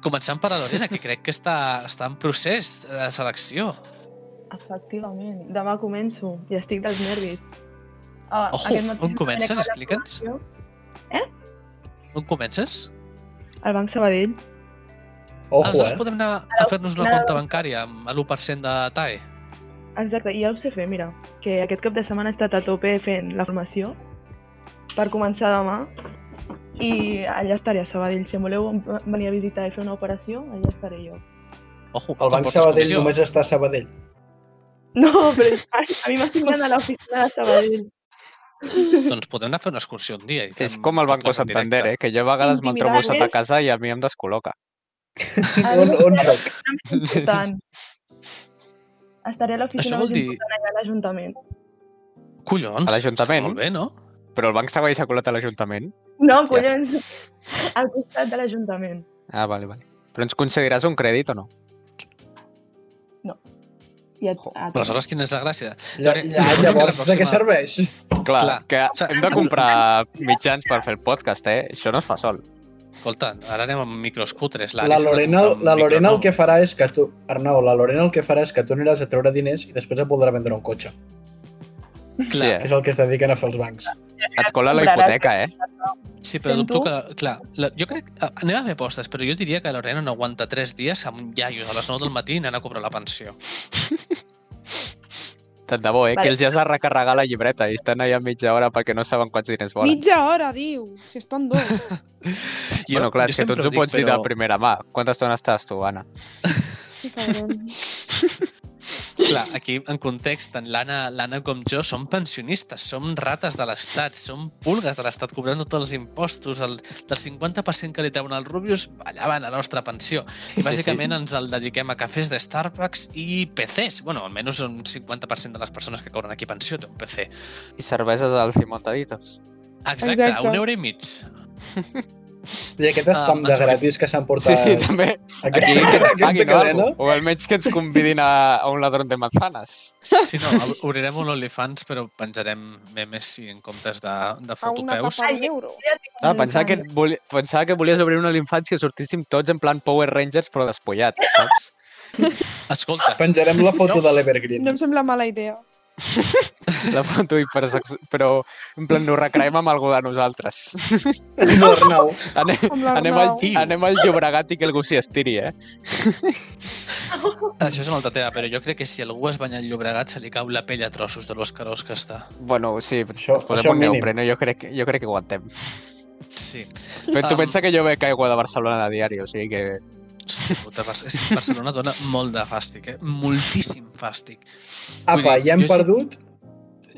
S1: Començant per la Lorena, que crec que està, està en procés de selecció.
S6: Efectivament. Demà començo i estic dels nervis. Ah,
S1: Ojo,
S6: aquest matí
S1: on comences?
S6: vaig acabar la
S1: Explica'ns.
S6: formació
S1: On comences?
S6: Al Banc Sabadell.
S1: Els
S3: Ojo,
S1: dos
S3: eh?
S1: podem anar a fer-nos una
S6: Ara-
S1: compta bancària amb l'1% de TAE.
S6: Exacte, i ja ho sé fer, mira, que aquest cap de setmana he estat a tope fent la formació per començar demà i allà estaré a Sabadell. Si em voleu v- venir a visitar i fer una operació, allà estaré jo.
S1: Ojo,
S3: El Banc Sabadell només està a Sabadell.
S6: No, però a, a mi m'assignen a l'oficina de Sabadell.
S1: Doncs podem anar a fer una excursió un dia. i
S4: És
S1: fem
S4: com el
S1: tot
S4: Banco
S1: plegat en
S4: Santander,
S1: directe.
S4: eh? que jo a vegades me'l trobo
S5: Intimidar
S4: sota
S6: més.
S4: casa i a mi em descol·loca.
S6: Ara
S3: On, on soc?
S6: important. Estaré a l'oficina
S1: Això vol
S6: més
S1: dir-
S6: important allà a l'Ajuntament.
S1: Collons.
S4: eh? A l'Ajuntament?
S1: està Molt bé, no?
S4: Però el Banc Sabadell s'ha colat a l'Ajuntament?
S6: No,
S4: Hòstia.
S6: collons! Al costat de l'Ajuntament.
S4: Ah, vale, vale. Però ens concediràs un crèdit o no?
S6: I a,
S4: Jo,
S3: Ah,
S6: a,
S1: Aleshores, quina és la gràcia?
S3: Ja, ja, Ah, llavors, de què serveix?
S4: Clar,
S1: Clar.
S4: que
S1: O sigui,
S4: hem de comprar mitjans per fer el podcast, eh? Això no es fa sol.
S1: Escolta, ara anem amb microscutres.
S3: La Lorena, la Lorena el que farà és que tu... Arnau, la Lorena el que farà és que tu aniràs a treure diners i després et voldrà vendre un cotxe,
S4: Sí,
S1: Clar,
S3: que
S4: eh?
S3: és el que es dediquen a fer els bancs.
S4: Et cola la
S6: Compraràs.
S4: hipoteca, eh?
S1: sí, però
S6: Sento-
S1: dubto que... Clar, la, jo crec... ah, Anem a fer apostes, però jo diria que la Lorena no aguanta 3 dies amb iaios a les 9 del matí anant a cobrar la pensió.
S4: Tant de bo, eh?
S6: Vale.
S4: Que els has de recarregar la llibreta i estan allà mitja hora perquè no saben quants diners volen.
S5: mitja hora, diu. Si estan dos.
S1: Jo-
S4: bueno, clar,
S1: jo
S4: és que tu
S1: sempre
S4: ens ho
S1: dic,
S4: pots dir de
S1: però-
S4: primera mà. Quanta estona estàs tu, Anna?
S5: Que cabron.
S1: Clar, aquí, en context, tant l'Anna l'Anna com jo som pensionistes, som rates de l'Estat, som pulgues de l'Estat, cobrant tots els impostos, el, del 50% que li treuen als Rubius, ballaven la nostra pensió. I
S4: sí.
S1: bàsicament ens el dediquem a cafès de Starbucks i PCs. bueno, almenys un 50% de les persones que cobren aquí pensió té un PC.
S4: I cerveses als i montaditos.
S1: Exacte,
S5: Exacte.
S1: Exacte. un euro i mig.
S3: I aquest spam
S1: Ah,
S3: de
S1: ens-
S3: gratis que s'han portat...
S4: Sí, sí, també.
S3: Aquest,
S4: Aquí que ens
S3: aquesta
S4: paguin o
S3: cadena.
S4: alguna cosa. O almenys que ens convidin a, a un ladrón de manzanas.
S1: Si no, obrirem un OnlyFans, però penjarem memes i en comptes de, de
S5: A una
S1: fotopeus.
S5: tapa al euro.
S4: Ah, pensava que, et voli... pensava que volies obrir una a l'infància i sortíssim tots en plan Power Rangers però despullat, saps?
S1: Escolta,
S3: Penjarem la foto
S1: No.
S3: de l'Evergreen.
S5: No em sembla mala idea.
S4: La foto hipersex... Però, en plan, ho recreem amb algú de nosaltres.
S3: No, Arnau.
S4: Anem,
S5: Amb l'Arnau.
S4: anem, al,
S1: Tio.
S4: anem al Llobregat i que algú s'hi estiri, eh?
S1: això és una altra tema, però jo crec que si algú es banya al Llobregat se li cau la pell a trossos de los carós que està.
S4: Bueno, sí,
S3: Això-
S4: ens posem
S3: això
S4: un
S3: mínim.
S4: neopreno, jo crec, que- jo crec que aguantem.
S1: Sí.
S4: Però tu
S1: Am.
S4: pensa que jo bec aigua de Barcelona de diari, o sigui que...
S1: Hosti Puta, Bar- és que Barcelona dona molt de fàstic, eh? Moltíssim fàstic. Vull
S3: Apa,
S1: dir,
S3: ja hem
S1: jo sí-
S3: perdut.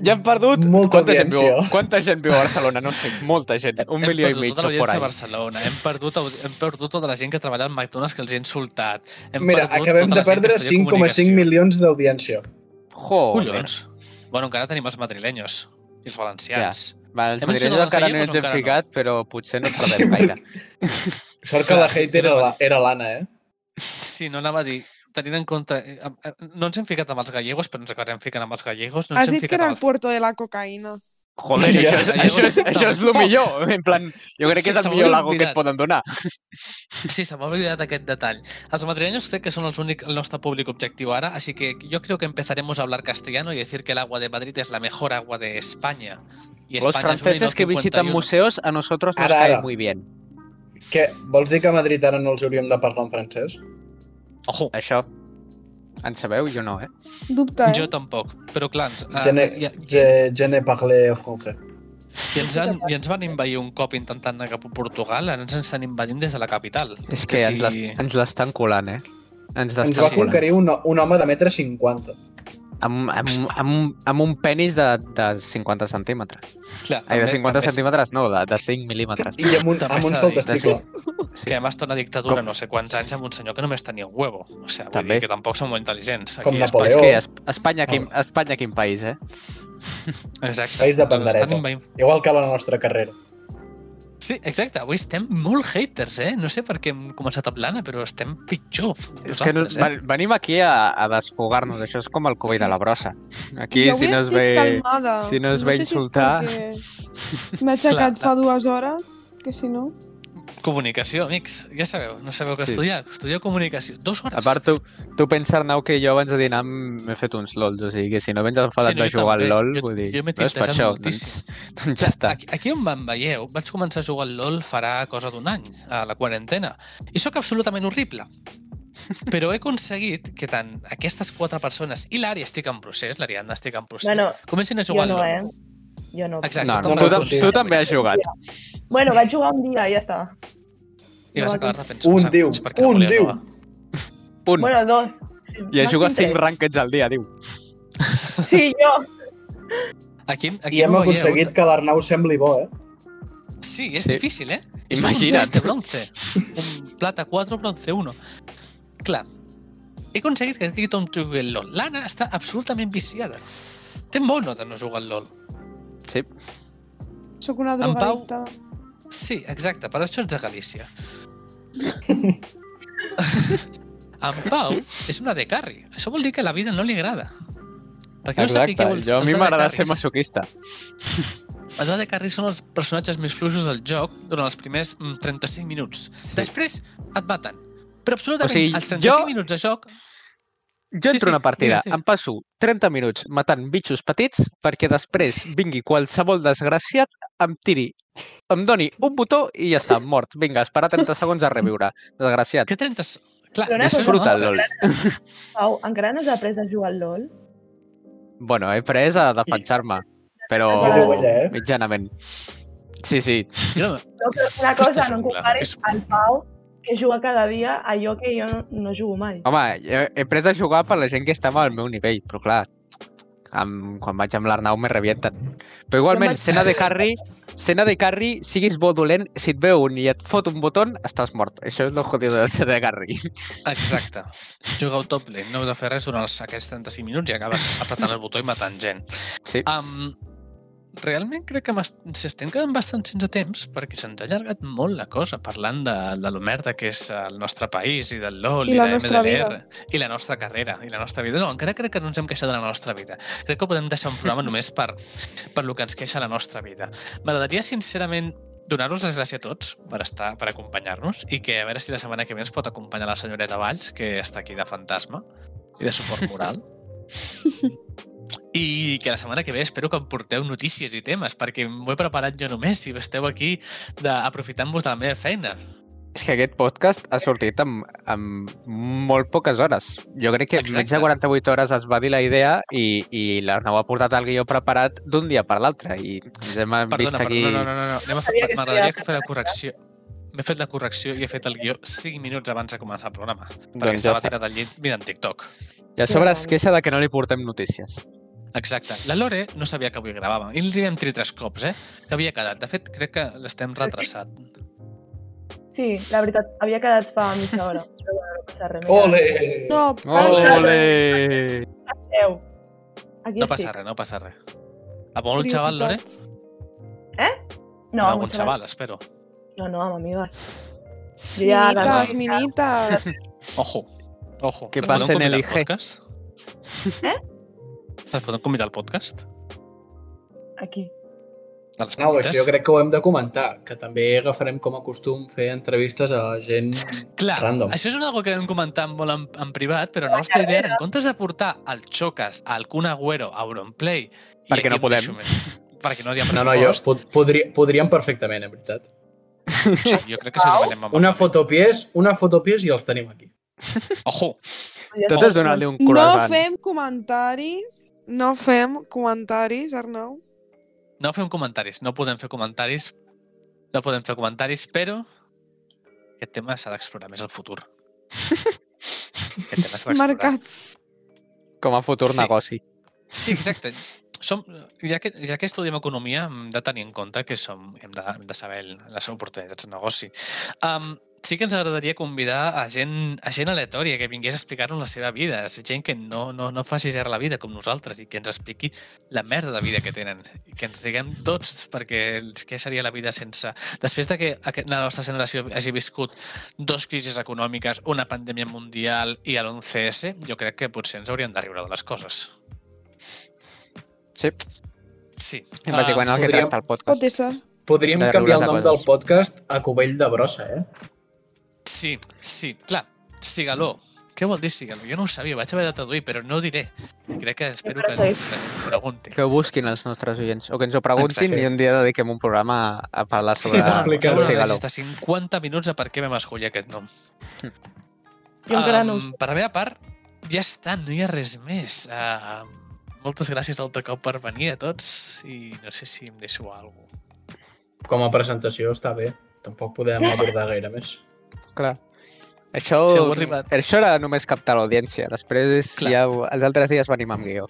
S4: Ja hem perdut...
S3: Molta
S4: quanta, gent viu,
S3: audiència.
S4: quanta gent viu a Barcelona? No sé, molta gent. Un
S1: Hem
S4: milió i
S1: perdut
S4: mig
S1: tota
S4: o por
S1: l'audiència
S4: ahí.
S1: de Barcelona, hem perdut, audi- hem perdut tota la gent que treballa al McDonald's que els he insultat. Hem
S3: Mira,
S1: perdut
S3: acabem
S1: tota
S3: de
S1: la gent que
S3: perdre
S1: estudia
S3: 5,5
S1: comunicació.
S3: milions d'audiència.
S4: Joder.
S1: Collons. Bueno, encara tenim els madrilenyos i els valencians.
S4: Va, els
S1: Hem
S4: madrilenys
S1: mencionat
S4: encara
S1: Jaén,
S4: no
S1: però
S4: ens hem
S1: encara no.
S4: ficat, però potser no perdem gaire.
S3: Sort que la hate era la- era l'Anna, eh?
S1: Sí, no anava a dir, tenint en compte... eh, eh, No ens hem ficat amb els gallegos, però ens acabarem ficant amb els gallegos. No ens
S5: Has
S1: hem
S5: dit que
S1: ficat
S5: era
S1: amb
S5: el
S1: els-
S5: puerto de la cocaïna.
S4: Joder,
S3: Ja,
S4: això, és,
S1: ja
S4: això, és,
S1: ho he dit,
S4: això és el
S1: tampoc.
S4: millor. En plan, jo crec que és
S1: Sí,
S4: el
S1: se m'ho
S4: millor
S1: havia
S4: lago que et
S1: oblidat.
S4: poden donar.
S1: Sí, se m'ha olvidat aquest detall. Els madrileños crec que son els únic, el nostre públic objectiu ara, así que yo creo que empezaremos a hablar castellano y decir que el agua de Madrid es la mejor agua de España. Y
S4: Los
S1: España es un
S4: franceses que
S1: 1951.
S4: visitan museos a nosotros nos
S3: Ara,
S4: caen
S3: ara.
S4: muy bien.
S3: Què, vols dir que a Madrid ara no els hauríem de parlar en francès?
S1: Ojo,
S4: Això. En sabeu? Jo no, eh?
S5: Dubte, eh?
S1: jo tampoc. Però clar, ens,
S3: Je ne,
S1: eh, i,
S3: je, je ne parle français.
S1: i, ens han, i ens van invadir un cop intentant anar cap a Portugal, ara ens estan invadint des de la capital.
S4: És que ens l'es- ens l'estan colant, eh? Ens
S3: Ens va
S4: l'estan colant.
S3: conquerir un, un home de metre cinquanta.
S4: Amb, amb, amb, un- amb un penis de, de 50 centímetres.
S1: Clar,
S4: Ai, de
S1: també
S4: 50
S1: és
S4: centímetres, no, de, de 5 mil·límetres.
S3: I amb un,
S1: També
S3: amb un
S1: s'ha
S3: sol
S1: de dir,
S3: testicle.
S1: Que a més té una dictadura
S4: Com-
S1: no sé quants anys amb un senyor que només tenia un huevo. O sigui, vull
S4: També.
S1: dir que tampoc són molt intel·ligents.
S3: Com
S1: a
S4: És
S3: Napoleó.
S4: que Es- Espanya, quin, Espanya quin país, eh?
S1: Espanya- Exacte.
S3: País de
S1: ens l'estan
S3: pandereta.
S1: invadint.
S3: Igual que la nostra carrera.
S1: Sí, exacte. Avui estem molt haters, eh? No sé per què hem començat a plana, però estem pitjor.
S4: És que no,
S1: nosaltres, eh?
S4: ven- venim aquí a, a desfogar-nos, això és com el Covid de la brossa. Aquí,
S5: Jo avui
S4: si no es
S5: estic
S4: ve...
S5: calmada.
S4: si no es ve
S5: sé si és
S4: insultar-
S5: perquè M'he
S1: Clar,
S5: aixecat
S1: clar.
S5: fa dues hores, que si no...
S1: Comunicació, amics. Ja sabeu, no sabeu què
S4: Sí.
S1: sí. estudiar. Estudieu comunicació. Dos hores.
S4: A part, tu, tu pensa, Arnau, que jo abans de dinar m'he fet uns LOLs, o sigui que si no vens enfadat
S1: Sí,
S4: sí,
S1: no,
S4: no, de
S1: jo
S4: jugar
S1: també.
S4: al LOL,
S1: Jo-
S4: vull dir,
S1: jo m'he
S4: no és per
S1: tintejat
S4: això, doncs,
S1: moltíssim.
S4: doncs ja està.
S1: Aquí, aquí on me'n veieu, vaig començar a jugar al LOL farà cosa d'un any, a la quarantena. I sóc absolutament horrible. Però he aconseguit que tant aquestes quatre persones i l'Ari estic en procés, l'Ariadna estic en procés,
S6: Bueno,
S1: comencin a
S6: jo
S1: jugar al
S6: no,
S1: LOL.
S6: eh? Jo no.
S1: Exacte.
S4: No, no,
S3: tampoc
S4: tu,
S3: és
S4: tam-
S3: possible.
S4: tu també has jugat.
S6: Bueno, vaig jugar un dia i ja està.
S1: I vas acabar refent
S3: Un
S1: sàndwich
S3: diu,
S1: perquè no
S3: un
S1: volia
S3: diu.
S1: jugar.
S4: Punt.
S6: Bueno, dos. Sí,
S4: I es
S6: màxim
S4: juga 5
S6: tres.
S4: rànquets al dia, diu.
S6: Sí, jo.
S1: Aquí, aquí
S3: I hem
S1: no veieu- eh?
S3: aconseguit que l'Arnau sembli bo, eh?
S1: Sí, es
S4: Sí.
S1: difícil, ¿eh? Es
S4: Imagina't.
S1: Un de bronce. Un plata 4, bronce 1. Clar, he aconseguit que aquí tothom jugui al LOL. L'Anna està absolutament viciada. Té mono de no jugar al LOL.
S4: Sí.
S5: Sóc una
S1: Pau?
S5: drogadicta.
S1: Sí, exacte, per això ets de Galícia. en Pau és una de carri. Això vol dir que la vida no li agrada. Perquè no sàpiga
S4: Exacte.
S1: què vols.
S4: Jo a mi
S1: els
S4: m'agrada
S1: AD
S4: ser
S1: carries.
S4: masoquista.
S1: Els AD carries són els personatges més fluixos del joc durant els primers mm, 35 minuts.
S4: Sí.
S1: Després et maten. Però absolutament,
S4: O sigui,
S1: els 35
S4: jo-
S1: minuts de joc...
S4: Jo
S1: Sí, sí,
S4: entro a una partida,
S1: digues, digues.
S4: em passo 30 minuts matant bitxos petits perquè després vingui qualsevol desgraciat, em tiri, em doni un botó i ja està, mort. Vinga, esperar 30 segons a reviure. Desgraciat.
S1: Que 30... Clar,
S6: Però una
S1: això és una
S4: Disfruta el
S1: altra.
S4: LOL.
S6: Pau, encara no has après a jugar al LOL?
S4: Bueno, he après a defensar-me, però
S1: Oh.
S6: Una
S3: dovella, eh?
S4: mitjanament. Sí, sí.
S1: Jo no-
S6: No, però una
S1: Aquesta
S6: cosa,
S1: és
S6: no em
S1: jungla,
S6: comparis
S1: és-
S6: al Pau, que juga cada dia, a jo que jo no, no jugo mai.
S4: Home, he, he après a jugar per la gent que estava al meu nivell, però clar, amb, quan vaig amb l'Arnau me revienten. Però igualment,
S6: vaig-
S4: cena de carry, cena de carry, siguis bo o dolent, si et veu un i et fot un botó, estàs mort. Això és lo jodido del cena de carry.
S1: Exacte. Jugueu top lane, no heu de fer res durant els, aquests 35 minuts i acabes apretant el botó i matant gent.
S4: Sí.
S1: Um, realment crec que m'es- ens estem quedant bastant sense temps perquè se'ns ha allargat molt la cosa parlant de, de lo merda que és el nostre país i del LOL
S5: I
S1: i,
S5: la
S1: de
S5: nostra
S1: MDR i la nostra carrera i la nostra vida. No, encara crec que no ens hem queixat de la nostra vida. Crec que podem deixar un programa només per, per lo que ens queixa la nostra vida. M'agradaria sincerament donar-vos les gràcies a tots per estar per acompanyar-nos i que a veure si la setmana que ve ens pot acompanyar la senyoreta Valls, que està aquí de fantasma i de suport moral. I que la setmana que ve espero que em porteu notícies i temes, perquè m'ho he preparat jo només, si esteu aquí de- aprofitant-vos de la meva feina.
S4: És que aquest podcast ha sortit amb, amb molt poques hores. Jo crec que en menys
S1: Exacte.
S4: de 48 hores es va dir la idea i, i l'Arnau ha portat el guió preparat d'un dia per l'altre i ens hem vist
S1: Perdona,
S4: aquí...
S1: perdona, no, no, no, no. anem a fer-
S2: Sabia que
S1: M'agradaria
S2: estava-
S1: fer la correcció. M'he fet la correcció i he fet el guió 5 minuts abans de començar el programa, perquè
S4: Doncs ja
S1: estava
S4: està.
S1: tirat al llit mirant TikTok.
S4: I a sobre es queixa de que no li portem notícies.
S1: Exacte. La Lore no sabia que avui gravàvem. I li vam dir tres cops, eh? Que havia quedat. De fet, crec que l'estem retrasat.
S6: Sí, la veritat, havia quedat fa mitja hora. Però bueno, no passa res.
S3: Ole!
S5: No,
S4: Ole!
S6: Adéu. Aquí
S1: No
S6: estic.
S1: passa res, no passa res. A molt un xaval, Lore?
S5: prioritats.
S6: No,
S1: a
S6: amb
S1: un xaval, espero.
S6: No, no, amb amigues. Jo ja la-
S5: Minitas, minitas.
S1: Ojo. Ojo.
S4: Que
S1: Les
S4: passen
S1: podem convidar al
S4: el IG.
S1: podcast? Les podem convidar al podcast?
S6: Aquí.
S1: A les
S3: No,
S1: comunitats?
S3: això jo crec que ho hem de comentar, que també agafarem com a costum fer entrevistes a gent...
S1: Clar,
S3: Random.
S1: això és una cosa que hem comentat molt en, en privat, però la nostra idea era, en comptes de portar el Chocas, el Kun Agüero, a Auronplay... i
S4: Perquè no
S1: aquí
S4: podem.
S1: mateix ho- Perquè no hi ha
S3: No, no, jo,
S1: pressupost,
S3: pod podri, podríem perfectament, en veritat.
S1: no, jo... jo crec que s'ho demanem amb
S3: Una fotopies, una fotopies i els tenim aquí.
S1: Ojo,
S4: Tot és donar-li un
S5: No
S4: croissant.
S5: fem comentaris. No fem comentaris, Arnau.
S1: no fem comentaris, no podem fer comentaris, no podem fer comentaris, però aquest tema s'ha d'explorar més al futur. Aquest tema s'ha d'explorar.
S5: Marcats.
S4: Com a futur
S1: Sí.
S4: negoci.
S1: Sí, exacte. Som, ja, que, ja que estudiem economia, hem de tenir en compte que som, hem, de, hem de saber el- les oportunitats de negoci. Um, sí que ens agradaria convidar a gent, a gent aleatòria que vingués a explicar-nos la seva vida, gent que no, no, no faci ser la vida com nosaltres i que ens expliqui la merda de vida que tenen. I que ens diguem tots, perquè els- què seria la vida sense... Després de que aquest- la nostra generació hagi viscut dos crisis econòmiques, una pandèmia mundial i l'11S, jo crec que potser ens hauríem de riure de les coses.
S4: Sí,
S1: Sí. Ah,
S4: és bàsicament el que
S3: podríem-
S4: tracta el
S5: Pot
S4: podcast.
S5: ser.
S3: Podríem
S4: De
S3: canviar el
S4: riure de
S3: nom del
S4: coses.
S3: podcast a Covell de Brossa, eh?
S1: Sí, sí, clar. Cigaló. Què vol dir cigaló? Jo no ho sabia, vaig haver de traduir, però no ho diré. I crec que espero que la
S6: Perfecte.
S1: gent m'ho pregunti.
S4: Que ho busquin els nostres oients, o que ens ho preguntin
S3: Exacte.
S4: i un dia dediquem un programa a, a parlar sobre
S1: Ah,
S3: no,
S4: el
S3: explicar-ho.
S4: cigaló.
S1: Des de 50 minuts de per què vam escollir aquest nom.
S6: Jo encara no.
S1: Em, per la meva part, ja està, no hi ha res més. Uh, moltes gràcies altre cop per venir a tots i no sé si em deixo alguna cosa.
S3: Com a presentació està bé. Tampoc podem abordar gaire més.
S4: Clar. Això,
S1: Si heu arribat.
S4: això era només captar l'audiència. Després,
S1: Clar.
S4: ja, ho- els altres dies venim amb guió.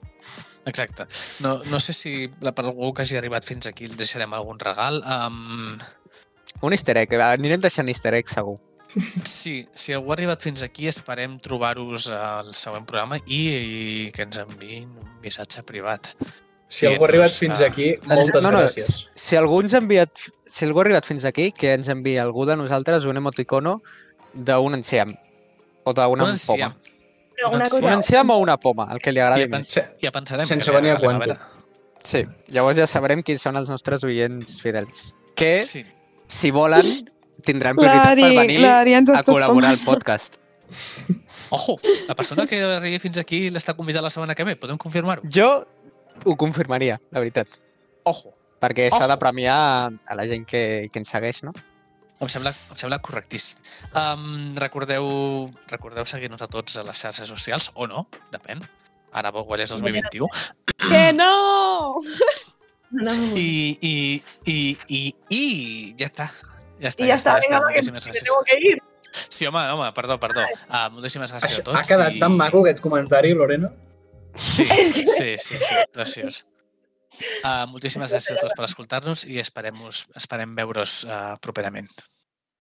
S1: Exacte. No, no sé si la, per algú que hagi arribat fins aquí li deixarem algun regal. Um,
S4: Un easter egg, anirem deixant easter egg segur.
S1: Sí, si algú ha arribat fins aquí, esperem trobar-vos al següent programa i, i que ens enviïn un missatge privat.
S3: Si algú ha arribat fins
S1: Ah.
S3: aquí,
S4: Ens-
S3: moltes gràcies.
S4: Si algú, ens ha enviat, si algú ha arribat fins aquí, que ens enviï algú de nosaltres un emoticono d'un enciam. O d'una
S1: Doncs sí,
S4: poma.
S6: Però una
S1: doncs sí.
S6: cosa,
S4: Un enciam o una poma, el que li agradi
S1: Ja
S4: més.
S3: Se-
S1: Ja pensarem.
S3: Sense
S1: que li
S3: venir a
S1: regalem,
S3: cuento.
S1: veure.
S4: Sí, llavors ja sabrem quins són els nostres oients fidels. Que,
S1: Sí,
S4: si volen, tindran prioritat per
S5: L'Ari,
S4: venir
S5: l'Ari ens
S4: a
S5: està
S4: col·laborar al
S5: espamant.
S4: podcast.
S1: ojo, la persona que arribi fins aquí l'està convidada la setmana que ve, podem confirmar-ho?
S4: Jo ho confirmaria, la veritat.
S1: Ojo,
S4: Perquè s'ha de
S1: Ojo.
S4: premiar a la gent que, que ens segueix, no?
S1: em sembla, em sembla correctíssim. Um, recordeu recordeu seguir-nos a tots a les xarxes socials, o no, depèn. Ara Boguelles 2021.
S5: Que no!
S6: no, no, I,
S1: I, i, i, i, i ja està. Ja està,
S6: i ja està, vinga,
S1: ja està.
S6: va, que
S1: Moltíssimes
S6: me
S1: gràcies.
S6: tengo que ir.
S1: Sí, home, home, perdó, perdó. Uh, moltíssimes gràcies a
S3: Això,
S1: tots.
S3: ha quedat
S1: i-
S3: tan maco aquest comentari, Lorena.
S1: Sí, sí, sí, sí Ah, preciós. Uh, moltíssimes gràcies a tots per escoltar-nos i esperem, esperem veure-us uh, properament.